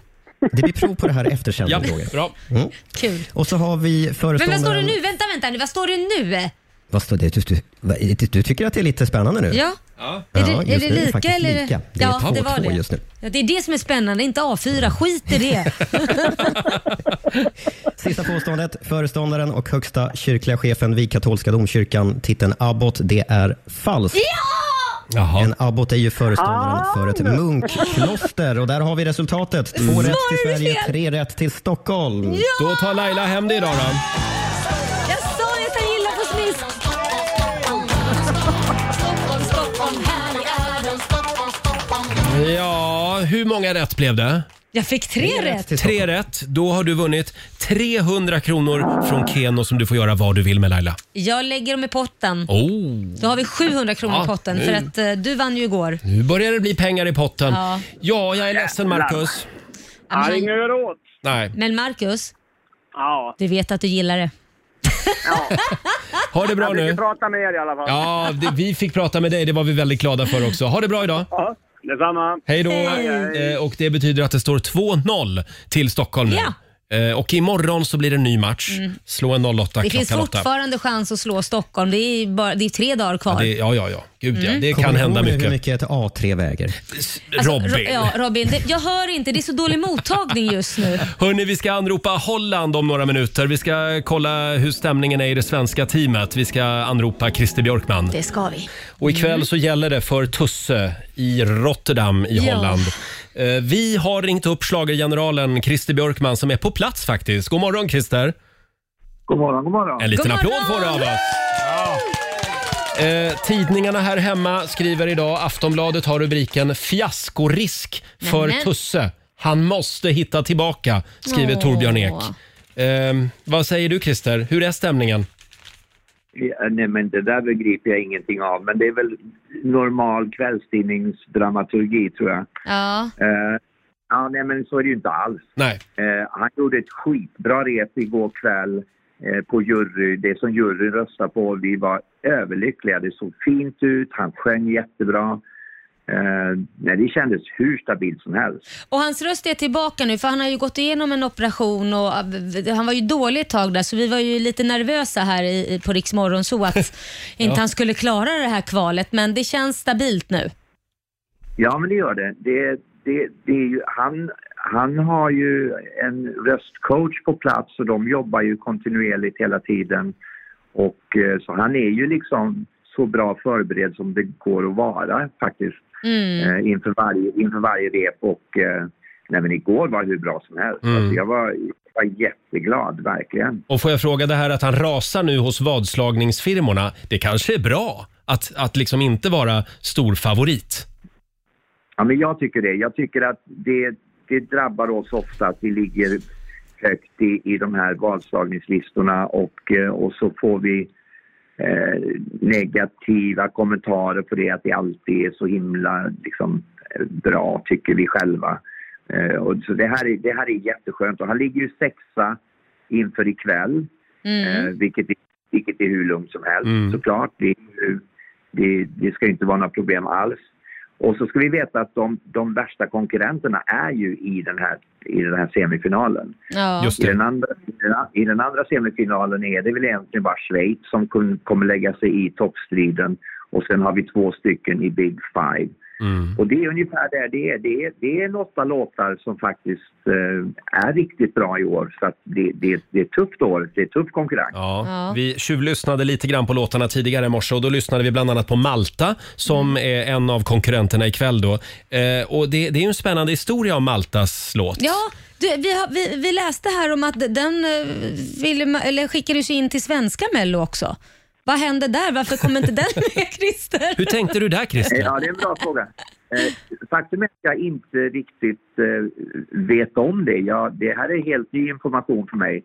J: Det blir prov på det här efter
A: Ja,
J: sändning, Roger.
A: bra.
B: Kul.
J: Och så har vi
B: Men vad
J: föreståndaren...
B: står det nu? Vänta, vänta nu. Vad står det nu?
J: Vad står det? Du, du, vad- du, du tycker att det är lite spännande nu?
B: Ja.
J: Ja,
B: Är det, är
J: just
B: det
J: nu är det
B: lika
J: faktiskt
B: eller?
J: lika. Det är
B: ja, det
J: 2-2
B: var det.
J: just nu.
B: Ja, det är det som är spännande, inte A4. Skit i det.
J: Sista påståendet. Föreståndaren och högsta kyrkliga chefen vid katolska domkyrkan, titeln abbot, det är falskt.
A: Jaha.
J: En abbot är ju föreståndaren för ett munkkloster och där har vi resultatet. Två rätt till
B: Svarade
J: Sverige,
B: fel.
J: tre rätt till Stockholm.
A: Då tar Laila hem det idag då.
B: Jag sa ju att jag gillar på smisk.
A: Ja, hur många rätt blev det?
B: Jag fick tre, rätt.
A: Tre rätt. Då har du vunnit 300 kronor från Keno som du får göra vad du vill med Laila.
B: Jag lägger dem i potten.
A: Oh.
B: Då har vi 700 kronor
A: Ja,
B: i potten
A: nu.
B: för att eh, du vann ju igår.
A: Nu börjar det bli pengar i potten. Ja,
B: Ja.
A: jag är ledsen Marcus.
B: Ja, men, han-
A: Nej.
B: men Marcus, du vet att du gillar det.
A: Ha det bra nu.
J: prata med er i alla fall.
A: Ja, det, vi fick prata med dig. Det var vi väldigt glada för också. Ha det bra idag.
J: Ja, detsamma.
A: Hej då.
J: Hej.
A: Eh, Och det betyder att det står 2-0 till Stockholm nu. Eh, Och imorgon så blir det en ny match.
B: Mm.
A: Slå en 08
B: Det finns
A: klockan åtta.
B: fortfarande chans att slå Stockholm. Det är, bara, det är tre dagar kvar.
A: Ja, det, ja, ja, ja. Gud ja.
B: Mm.
A: Det
K: Kommer
A: kan
K: ni
A: hända
K: ihåg nu
A: mycket.
K: hur mycket ett A3 väger?
B: Alltså,
A: Robin.
B: Ro- ja, Robin det, jag hör inte, det är så dålig mottagning just nu.
A: Hörni, vi ska anropa Holland om några minuter. Vi ska kolla hur stämningen är i det svenska teamet. Vi ska anropa Christer Björkman.
B: Det ska vi.
A: Och ikväll så gäller det för Tusse i Rotterdam i
B: Ja.
A: Holland. Eh, Vi har ringt upp schlagergeneralen Christer Björkman som är på plats faktiskt. God morgon Christer!
J: God morgon, god morgon.
A: En liten
J: God
A: applåd
J: morgon!
A: får du av oss. Eh, tidningarna här hemma skriver idag, Aftonbladet har rubriken “Fiaskorisk för
B: Nämen.
A: Tusse. Han måste hitta tillbaka”, skriver
B: Åh.
A: Torbjörn Ek. Eh, vad säger du Christer, hur är stämningen?
J: Ja, nej, men det där begriper jag ingenting av. Men det är väl normal kvällstidningsdramaturgi, tror jag.
B: Ja.
J: Eh, ja, nej, men så är det ju inte alls.
A: Nej.
J: Eh, han gjorde ett skitbra rep igår kväll eh, på jury, det som juryn röstade på. Vi var överlyckliga. Det såg fint ut, han sjöng jättebra. Eh, nej, det kändes hur stabilt som helst.
B: Och hans röst är tillbaka nu för han har ju gått igenom en operation och eh, han var ju dålig ett tag där så vi var ju lite nervösa här i, i- på Rix Morgon så att inte han skulle klara det här kvalet men det känns stabilt nu.
J: Ja, men det gör det. det, det, det är ju, han, han har ju en röstcoach på plats och de jobbar ju kontinuerligt hela tiden. Och, eh, så han är ju liksom så bra förberedd som det går att vara faktiskt
B: Mm.
J: eh, inför, varje, inför varje rep. Och, eh, nej, men igår var det hur bra som helst.
A: Mm.
J: Alltså, jag var, jag var jätteglad, verkligen.
A: Och får jag fråga det här att han rasar nu hos vadslagningsfirmorna. Det kanske är bra att, att liksom inte vara stor favorit.
J: Ja, men jag tycker det. Jag tycker att det, det drabbar oss ofta att vi ligger högt i, i de här valslagningslistorna och, eh, och så får vi eh, negativa kommentarer på det att det alltid är så himla liksom, eh, bra, tycker vi själva. Eh, och så det, här är, det här är jätteskönt. Och han ligger ju sexa inför ikväll, eh, vilket, är- vilket är hur lugnt som helst
L: Mm.
J: såklart. Det, är ju- det, det ska ju inte vara några problem alls. Och så ska vi veta att de, de värsta konkurrenterna är ju i den här, i den här semifinalen.
B: Ja.
J: I, den andra, i den- I den andra semifinalen är det väl egentligen bara Schweiz som kun- kommer lägga sig i toppstriden och sen har vi två stycken i Big Five. Och det är ungefär där det är. Det är, det är åtta låtar som faktiskt eh, är riktigt bra i år. Så att det, det, det är ett tufft år, det är tuff konkurrens.
A: Ja, Vi tjuvlyssnade lite grann på låtarna tidigare i morse och då lyssnade vi bland annat på Malta som är en av konkurrenterna ikväll då. Eh, och det, det är ju en spännande historia om Maltas låt.
B: Ja, du, vi, har, vi, vi läste här om att den eh, ville, eller skickades ju in till svenska Mello också. Vad hände där? Varför kom inte den med Christer?
A: Hur tänkte du där Christer?
J: Ja, det är en bra fråga. Eh, faktum är att jag inte riktigt eh, vet om det. Jag, det här är helt ny information för mig.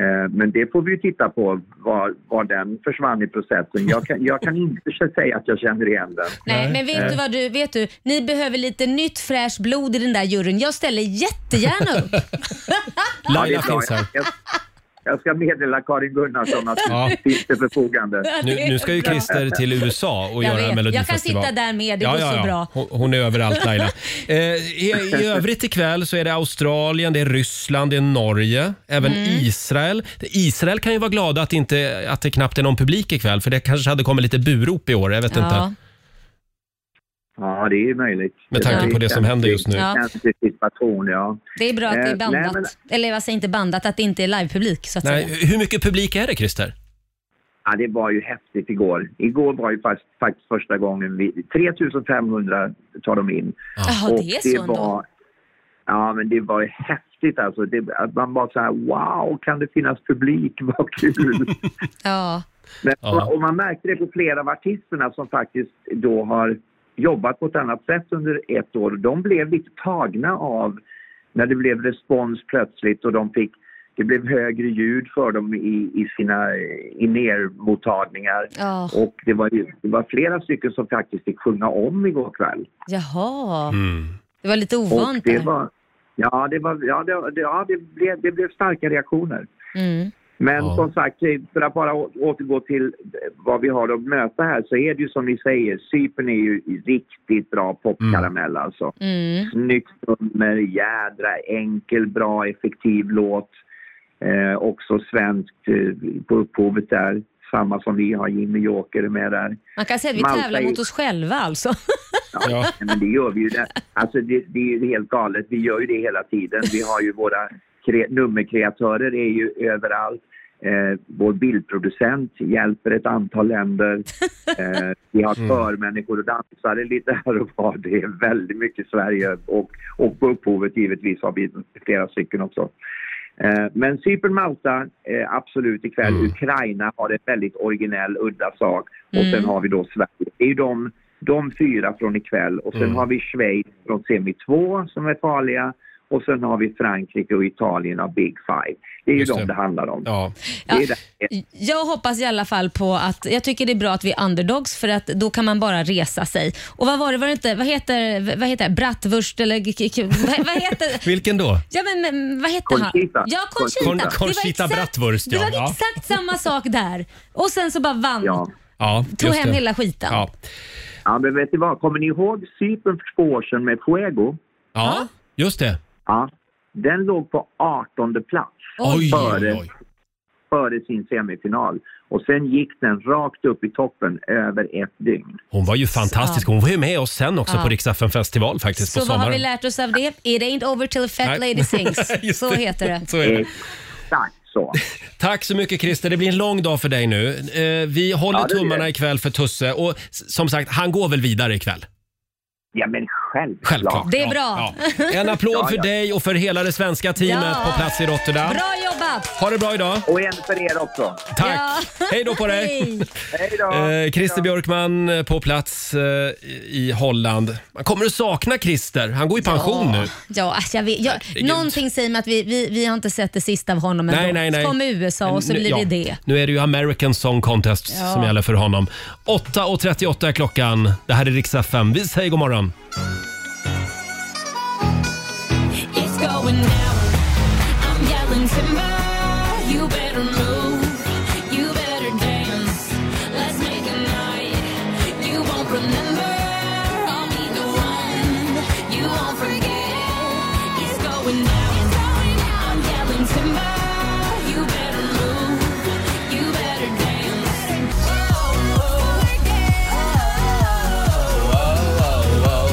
J: Eh, men det får vi ju titta på, var, var den försvann i processen. Jag kan, jag kan inte säga att jag känner igen den.
B: Nej, men vet du vad du, vet du, ni behöver lite nytt fräscht blod i den där juryn. Jag ställer jättegärna upp.
J: Ja, det är
A: Laila
J: bra.
A: finns här.
J: Jag, jag ska meddela Karin Gunnarsson att
A: Ja.
J: ja. finns till förfogande.
A: Nu, nu ska ju Christer till USA och
B: Jag
A: göra
B: vet.
A: Melodifestival.
B: Jag kan sitta där med, det går så bra.
A: Hon- Hon är överallt Laila. Eh, i, I övrigt ikväll så är det Australien, det är Ryssland, det är Norge, även
B: Mm.
A: Israel. Israel kan ju vara glada att, inte, att det knappt är någon publik ikväll för det kanske hade kommit lite burop i år, jag vet inte.
J: Ja, det är ju möjligt.
A: Med tanke på det som händer just nu.
B: Ja.
J: Anticipation, ja.
B: Det är bra att det
J: Eh,
B: är bandat.
J: nej, men-
B: Eller jag säger inte bandat, att det inte är livepublik så att
A: Nej,
B: säga.
A: hur mycket publik är det Christer?
J: Ja, det var ju häftigt igår. Igår var ju fast, faktiskt första gången vi... 3500 tar de in.
B: Jaha, det är så ändå.
J: Ja, men det var ju häftigt alltså. Det, att man bara så här, wow, kan det finnas publik? Vad kul!
B: Ja.
J: men,
B: Ja.
J: och, och man märkte det på flera av artisterna som faktiskt då har jobbat på ett annat sätt under ett år. De blev lite tagna av när det blev respons plötsligt och de fick det blev högre ljud för dem i, i sina in-ear-mottagningar.
B: Ja.
J: Och det var, ju- det var flera stycken som faktiskt fick sjunga om igår kväll.
B: Jaha. Det var lite ovant
J: och det
B: där.
J: var, ja, det var, ja, det, det- ja det, blev, det blev starka reaktioner.
B: Mm.
J: Men som sagt, eh, för att bara å- återgå till eh, vad vi har att möta här så är det ju som ni säger, Cypern är ju riktigt bra popkaramell alltså.
B: Mm.
J: Snyggt nummer, jädra enkel, bra, effektiv låt. Eh, också svenskt eh, på upphovet där, samma som vi har, Jimmy Joker är med där.
B: Man kan säga att vi
J: Malta
B: tävlar
J: är-
B: mot oss själva alltså.
J: Ja. Men det gör vi ju. Det. Alltså det, det är ju helt galet. Vi gör ju det hela tiden. Vi har ju våra kre- nummerkreatörer är ju överallt. Eh, vår bildproducent hjälper ett antal länder. Eh, vi har
L: Mm.
J: körmänniskor och dansare lite här och var. Det är väldigt mycket Sverige och, och på upphovet givetvis har vi flera stycken också. Eh, Men Cypern, Malta, eh, absolut ikväll.
L: Mm.
J: Ukraina har en väldigt originell, udda sak. Och
L: Mm.
J: sen har vi då Sverige. Det är ju de, de fyra från ikväll. Och sen
L: Mm.
J: har vi Schweiz från semi 2 som är farliga. Och sen har vi Frankrike och Italien av Big Five. Det är ju de det. handlar om. Det är det.
B: Jag hoppas i alla fall på att, jag tycker det är bra att vi är underdogs för att då kan man bara resa sig. Och vad var det, var det inte, vad heter, vad heter det, bratwurst eller, k- k- vad, vad heter,
A: Vilken då?
B: ja men, men vad heter han?
A: Conchita.
B: Ja, Conchita.
A: Con-
B: Det var
A: Conchita
B: exakt-
A: Bratwurst,
B: Det
A: ja.
B: var
A: Ja.
B: exakt samma sak där. Och sen så bara vann.
A: Ja,
B: Tog
J: just
B: hem
J: det.
B: hela skiten.
A: Ja.
J: Ja, men vet ni vad? Kommer ni ihåg Cypern för två år sedan med Fuego?
A: Ja, just det.
J: Ja. Den låg på 18 plats
A: Oj,
J: före,
A: oj, oj.
J: före sin semifinal. Och sen gick den rakt upp i toppen över ett dygn.
A: Hon var ju fantastisk. Hon var ju med oss sen också
B: Ja.
A: på Riksdagen festival faktiskt
B: Så
A: på
B: vad har vi
A: sommaren.
B: lärt oss av det? It ain't over till a fat
A: Nej.
B: lady sings.
A: Just
B: Så
A: det.
B: heter det.
A: Så är det.
J: Tack så.
A: Tack så mycket Christer. Det blir en lång dag för dig nu. Eh, Vi håller
J: Ja, det blir
A: tummarna
J: det.
A: ikväll för Tusse och s- som sagt, han går väl vidare ikväll?
J: Ja, men självklart.
A: Självklart.
B: Det är
A: Ja,
B: bra.
A: ja. En applåd
J: Ja,
A: för
J: ja.
A: dig och för hela det svenska teamet
B: Ja.
A: på plats i Rotterdam.
B: Bra jobbat!
A: Ha det bra idag.
J: Och en för er också.
A: Tack.
B: Ja.
A: Hej då på dig.
J: Hej då.
A: Eh, Christer Björkman eh, på plats eh, i Holland. Man kommer att sakna Christer. Han går i pension
B: ja.
A: nu.
B: Ja, alltså jag vet, jag,
A: Herregud.
B: någonting säger mig att vi, vi, vi har inte sett det sista av honom
A: Nej,
B: ändå.
A: nej, nej.
B: Så kommer USA och så
A: Nu-
B: blir
A: ja.
B: det det.
A: Nu är det ju American Song Contest
B: Ja.
A: som gäller för honom. 8.38 är klockan. Det här är Rix FM. Vi säger god morgon.
F: It's going down. I'm yelling timber. You better move. You better dance. Let's make a night. You won't remember. I'll be the one. You won't forget. It's going down. It's going down. I'm yelling timber. You better move. You better dance. Oh, oh, oh, oh.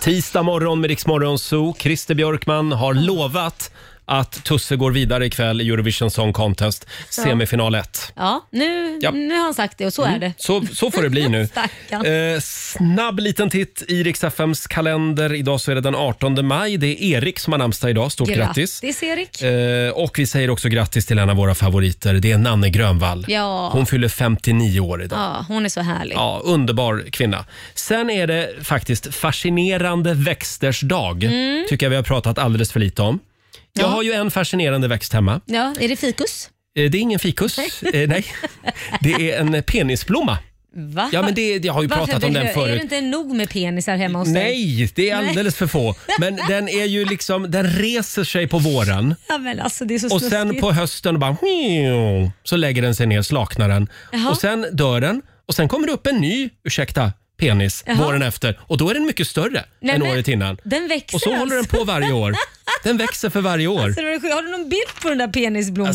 A: Tisdag morgon med Rix Morgon Zoo. Christer Björkman har lovat att Tusse går vidare ikväll i Eurovision Song Contest,
B: Ja.
A: semifinal 1.
B: Ja, nu,
A: Ja. Mm.
B: nu har han sagt det och så är det.
A: Så, så får det bli nu.
B: Stackarn.
A: Eh, snabb liten titt i Rix FMs kalender. Idag så är det den 18 maj. Det är Erik som har namnsdag idag. Stort grattis!
B: Grattis Erik.
A: Eh, och vi säger också grattis till en av våra favoriter. Det är Nanne Grönvall.
B: Ja.
A: Hon fyller 59 år idag.
B: Ja, hon är så härlig.
A: Ja, underbar kvinna. Sen är det faktiskt fascinerande växters dag.
B: Mm.
A: Tycker jag vi har pratat alldeles för lite om. Jag
B: Ja.
A: har ju en fascinerande växt hemma.
B: Ja, är det fikus?
A: Eh, Det är ingen fikus. Eh, Nej. Det är en penisblomma.
B: Va?
A: Ja, men det- jag har ju
B: Varför
A: pratat om den
B: behö- Är
A: förut.
B: det inte nog med penisar hemma hos dig?
A: Nej, det är alldeles för få. Men den är ju liksom, den reser sig på våren.
B: Ja, men alltså, det är så
A: Och
B: snuskigt.
A: sen på hösten bara så lägger den sig ner, slaknar den.
B: Jaha.
A: Och sen dör den och sen kommer det upp en ny, ursäkta, penis
B: Jaha.
A: våren efter och då är den mycket större
B: Nej,
A: än
B: men-
A: året innan.
B: Den växer
A: Och så håller den på varje år. Den växer för varje år.
B: Alltså, det var sjukt. har du någon bild på den där penisblomman?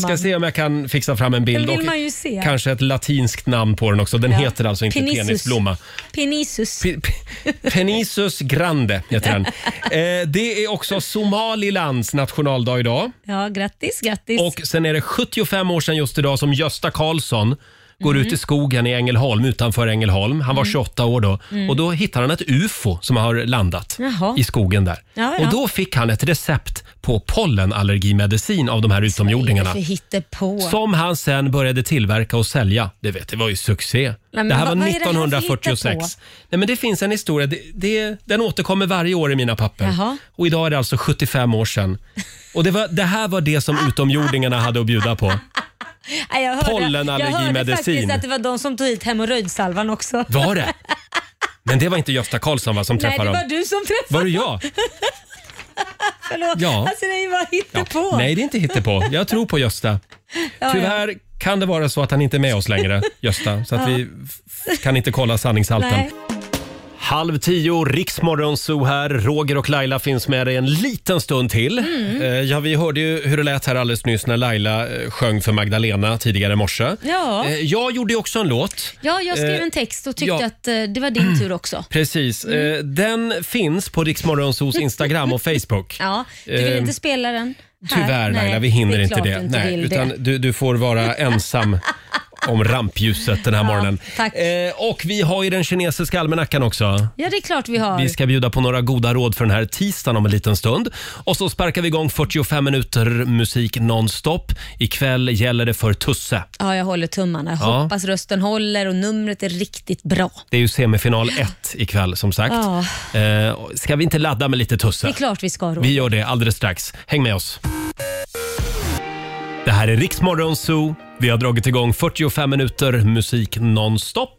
A: Jag ska se om jag kan fixa fram en bild
B: Den vill
A: och
B: man ju se.
A: kanske ett latinskt namn på den också. Den
B: Ja.
A: heter alltså inte
B: Penisus.
A: penisblomma.
B: Penisus.
A: Penisus grande heter den. Eh, det är också Somalilands nationaldag idag.
B: Ja, grattis, grattis.
A: Och sen är det 75 år sedan just idag som Gösta Karlsson går
B: Mm.
A: ut i skogen i Ängelholm utanför Ängelholm. Han var 28 år då
B: Mm.
A: och då hittar han ett UFO som har landat
B: Jaha.
A: i skogen där.
B: Ja, ja.
A: Och då fick han ett recept på pollenallergimedicin av de här utomjordingarna.
B: För hittepå.
A: Som han sen började tillverka och sälja. Du vet, det var ju succé.
B: men
A: det här
B: vad-
A: var
B: vad är det här för
A: 1946.
B: hittepå?
A: Nej, men det finns en historia. Det, det, den återkommer varje år i mina papper.
B: Jaha.
A: Och idag är det alltså 75 år sedan. Och det, var, det här var det som utomjordingarna hade att bjuda på.
B: Nej, jag hörde, Jag hörde
A: Pollenallergimedicin.
B: faktiskt att det var de som tog hit hemorrojdsalvan också.
A: Var det? Men det var inte Gösta Karlsson va, som
B: Nej, det
A: träffade
B: var
A: dem?
B: du som träffade
A: Var det jag?
B: Förlåt.
A: Ja.
B: Alltså det är ju bara hittepå.
A: Nej, det är inte hittepå. Jag tror på Gösta.
B: Ja,
A: Tyvärr kan det vara så att han inte är med oss längre, Gösta. Så att
B: Ja.
A: vi f- kan inte kolla sanningshalten.
B: Nej.
A: Halv tio, Riksmorgonzoo här. Roger och Laila finns med dig en liten stund till.
B: Mm.
A: Eh, Ja, vi hörde ju hur det lät här alldeles nyss när Laila eh, sjöng för Magdalena tidigare i morse.
B: Ja.
A: Eh, Jag gjorde ju också en låt.
B: Ja, jag skrev
A: Eh,
B: en text och tyckte
A: ja.
B: att eh, det var din tur också.
A: Precis. Eh,
B: Mm.
A: Den finns på Riksmorgonsos Instagram och Facebook.
B: Ja, du vill
A: Eh,
B: inte spela den här?
A: Tyvärr
B: Nej,
A: Laila, vi hinner
B: det är
A: inte
B: klart
A: det.
B: du Inte
A: Nej,
B: vill
A: utan
B: det.
A: Du, du får vara ensam om rampljuset den här morgonen.
B: Tack.
A: Eh, och vi har ju den kinesiska almanackan också.
B: Ja, det är klart vi har.
A: Vi ska bjuda på några goda råd för den här tisdagen om en liten stund. Och så sparkar vi igång 45 minuter musik nonstop. Ikväll gäller det för Tusse.
B: Ja, jag håller tummarna. Jag
A: Ja.
B: hoppas rösten håller och numret är riktigt bra.
A: Det är ju semifinal 1 ikväll som sagt.
B: Ja,
A: Eh, ska vi inte ladda med lite Tusse?
B: det är klart vi ska. Roger.
A: Vi gör det alldeles strax. Häng med oss. Det här är Riksmorgon Zoo. Vi har dragit igång 45 minuter musik nonstop.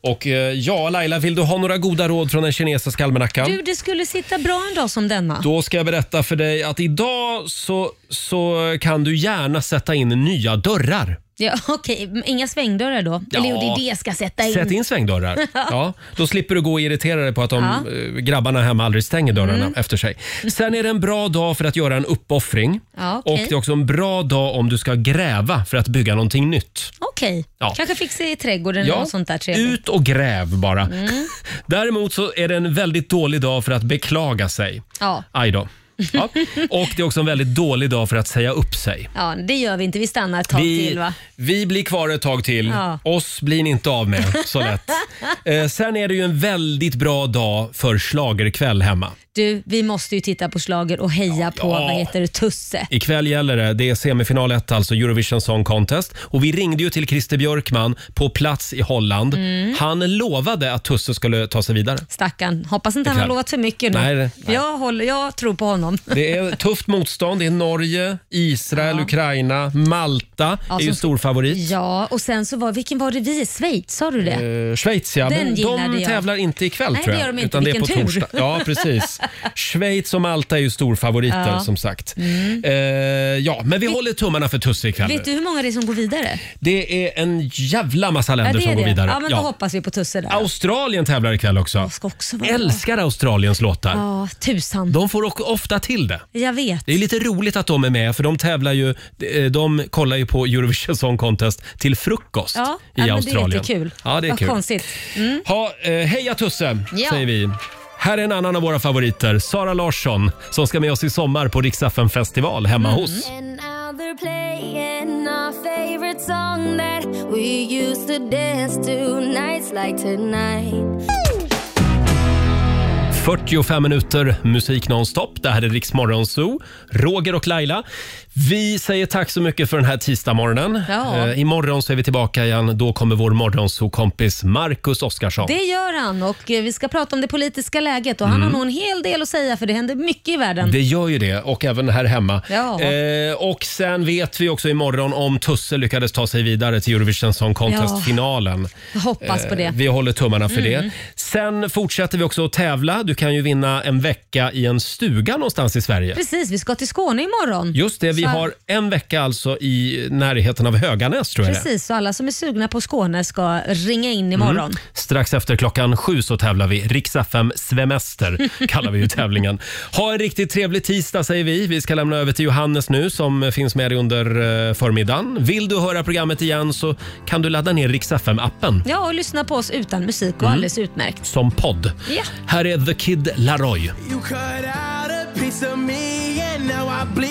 A: Och eh, ja, Laila, vill du ha några goda råd från den kinesiska almanackan?
B: Du, det skulle sitta bra en dag som denna.
A: Då ska jag berätta för dig att idag så, så kan du gärna sätta in nya dörrar.
B: Ja, Okej, men inga svängdörrar då?
A: Ja.
B: Eller jo, det är det jag ska sätta in.
A: Sätt in svängdörrar. Ja, då slipper du gå och irritera dig på att de
B: Ja.
A: eh, grabbarna hemma aldrig stänger dörrarna
B: Mm.
A: efter sig. Sen är det en bra dag för att göra en uppoffring.
B: Ja,
A: Och
B: okej.
A: det är också en bra dag om du ska gräva för att bygga någonting nytt.
B: Okej,
A: Ja.
B: kanske fixa i trädgården eller något sånt där trevligt.
A: ut och gräv bara.
B: Mm.
A: Däremot så är det en väldigt dålig dag för att beklaga sig.
B: Ja.
A: Aj då. Ja. Och det är också en väldigt dålig dag för att säga upp sig.
B: ja, det gör vi inte. Vi stannar ett tag till va?
A: vi blir kvar ett tag till.
B: Ja.
A: Oss blir ni inte av med så lätt. eh, sen är det ju en väldigt bra dag för schlagerkväll hemma.
B: Du, vi måste ju titta på slager och heja på vad heter det, Tusse.
A: Ikväll gäller det. Det är semifinal 1, alltså Eurovision Song Contest. Och vi ringde ju till Christer Björkman på plats i Holland.
B: Mm.
A: Han lovade att Tusse skulle ta sig vidare.
B: Stackarn. Hoppas inte han har
A: Ikväll.
B: lovat för mycket nu.
A: Nej, nej.
B: Jag, håller, jag tror på honom.
A: Det är tufft motstånd. Det är Norge, Israel, Ukraina, Malta
B: Ja,
A: är ju
B: som-
A: storfavorit.
B: Ja, och sen så var, vilken var det vi i Schweiz? Sa du det?
A: Eh, Schweiz ja,
B: Den
A: men
B: gillade
A: de
B: jag.
A: tävlar inte ikväll
B: Nej,
A: tror
B: det
A: jag.
B: gör de inte.
A: Utan det är på
B: Vilken tur.
A: torsdag. Ja, precis. Schweiz och Malta är ju storfavoriter
B: Ja. Mm.
A: som sagt. Eh, ja, men vi håller tummarna för Tusse ikväll.
B: Vet du hur många det är som går vidare?
A: Det är en jävla massa länder
B: ja, det är
A: som
B: det.
A: går vidare.
B: Ja, men då hoppas vi på Tusse där.
A: Australien tävlar ikväll också. Älskar Australiens låtar.
B: Ja, tusan.
A: De får o- ofta till det.
B: Jag vet.
A: Det är lite roligt att de är med för de tävlar ju, de- de kollar ju på Eurovision Song Contest till frukost
B: Ja,
A: i
B: ja, men
A: Australien.
B: det är lite kul.
A: Ja, det är
B: Vad
A: kul.
B: konstigt. Mm.
A: Ha, eh, heja Tusse,
B: Ja.
A: säger vi. Här är en annan av våra favoriter, Sara Larsson, som ska med oss i sommar på Rix FM festival hemma
B: Mm.
A: hos.
F: And now they're playing our favorite song that we used to dance to nights like tonight.
A: 45 minuter musik nonstop. Det här är Rix Morgon Zoo. Roger och Laila. Vi säger tack så mycket för den här tisdagsmorgonen.
B: Ja.
A: Eh, imorgon så är vi tillbaka igen. Då kommer vår morgonzoo-kompis Marcus Oskarsson.
B: Det gör han och eh, vi ska prata om det politiska läget och han
A: Mm.
B: har nog en hel del att säga för det händer mycket i världen.
A: Det gör ju det, och även här hemma.
B: Ja.
A: Eh, och sen vet vi också imorgon om Tusse lyckades ta sig vidare till Eurovision Song Contest-finalen.
B: Jag hoppas på det.
A: Eh, Vi håller tummarna för
B: Mm.
A: det. Sen fortsätter vi också att tävla. Du kan ju vinna en vecka i en stuga någonstans i Sverige.
B: Precis, vi ska till Skåne imorgon.
A: Just det, vi
B: Så-
A: har en vecka alltså i närheten av Höganäs tror jag det är.
B: Precis, så alla som är sugna på Skåne ska ringa in imorgon.
A: Mm. Strax efter klockan sju så tävlar vi. Riks-FM Svemester kallar vi ju tävlingen. Ha en riktigt trevlig tisdag säger vi. Vi ska lämna över till Johannes nu som finns med dig under eh, förmiddagen. Vill du höra programmet igen så kan du ladda ner Riks-FM appen
B: Ja, och lyssna på oss utan musik och
A: Mm.
B: alldeles utmärkt.
A: som podd.
B: Ja.
A: Här är The Kid Laroi.
L: You cut out a piece of me and now I bleed.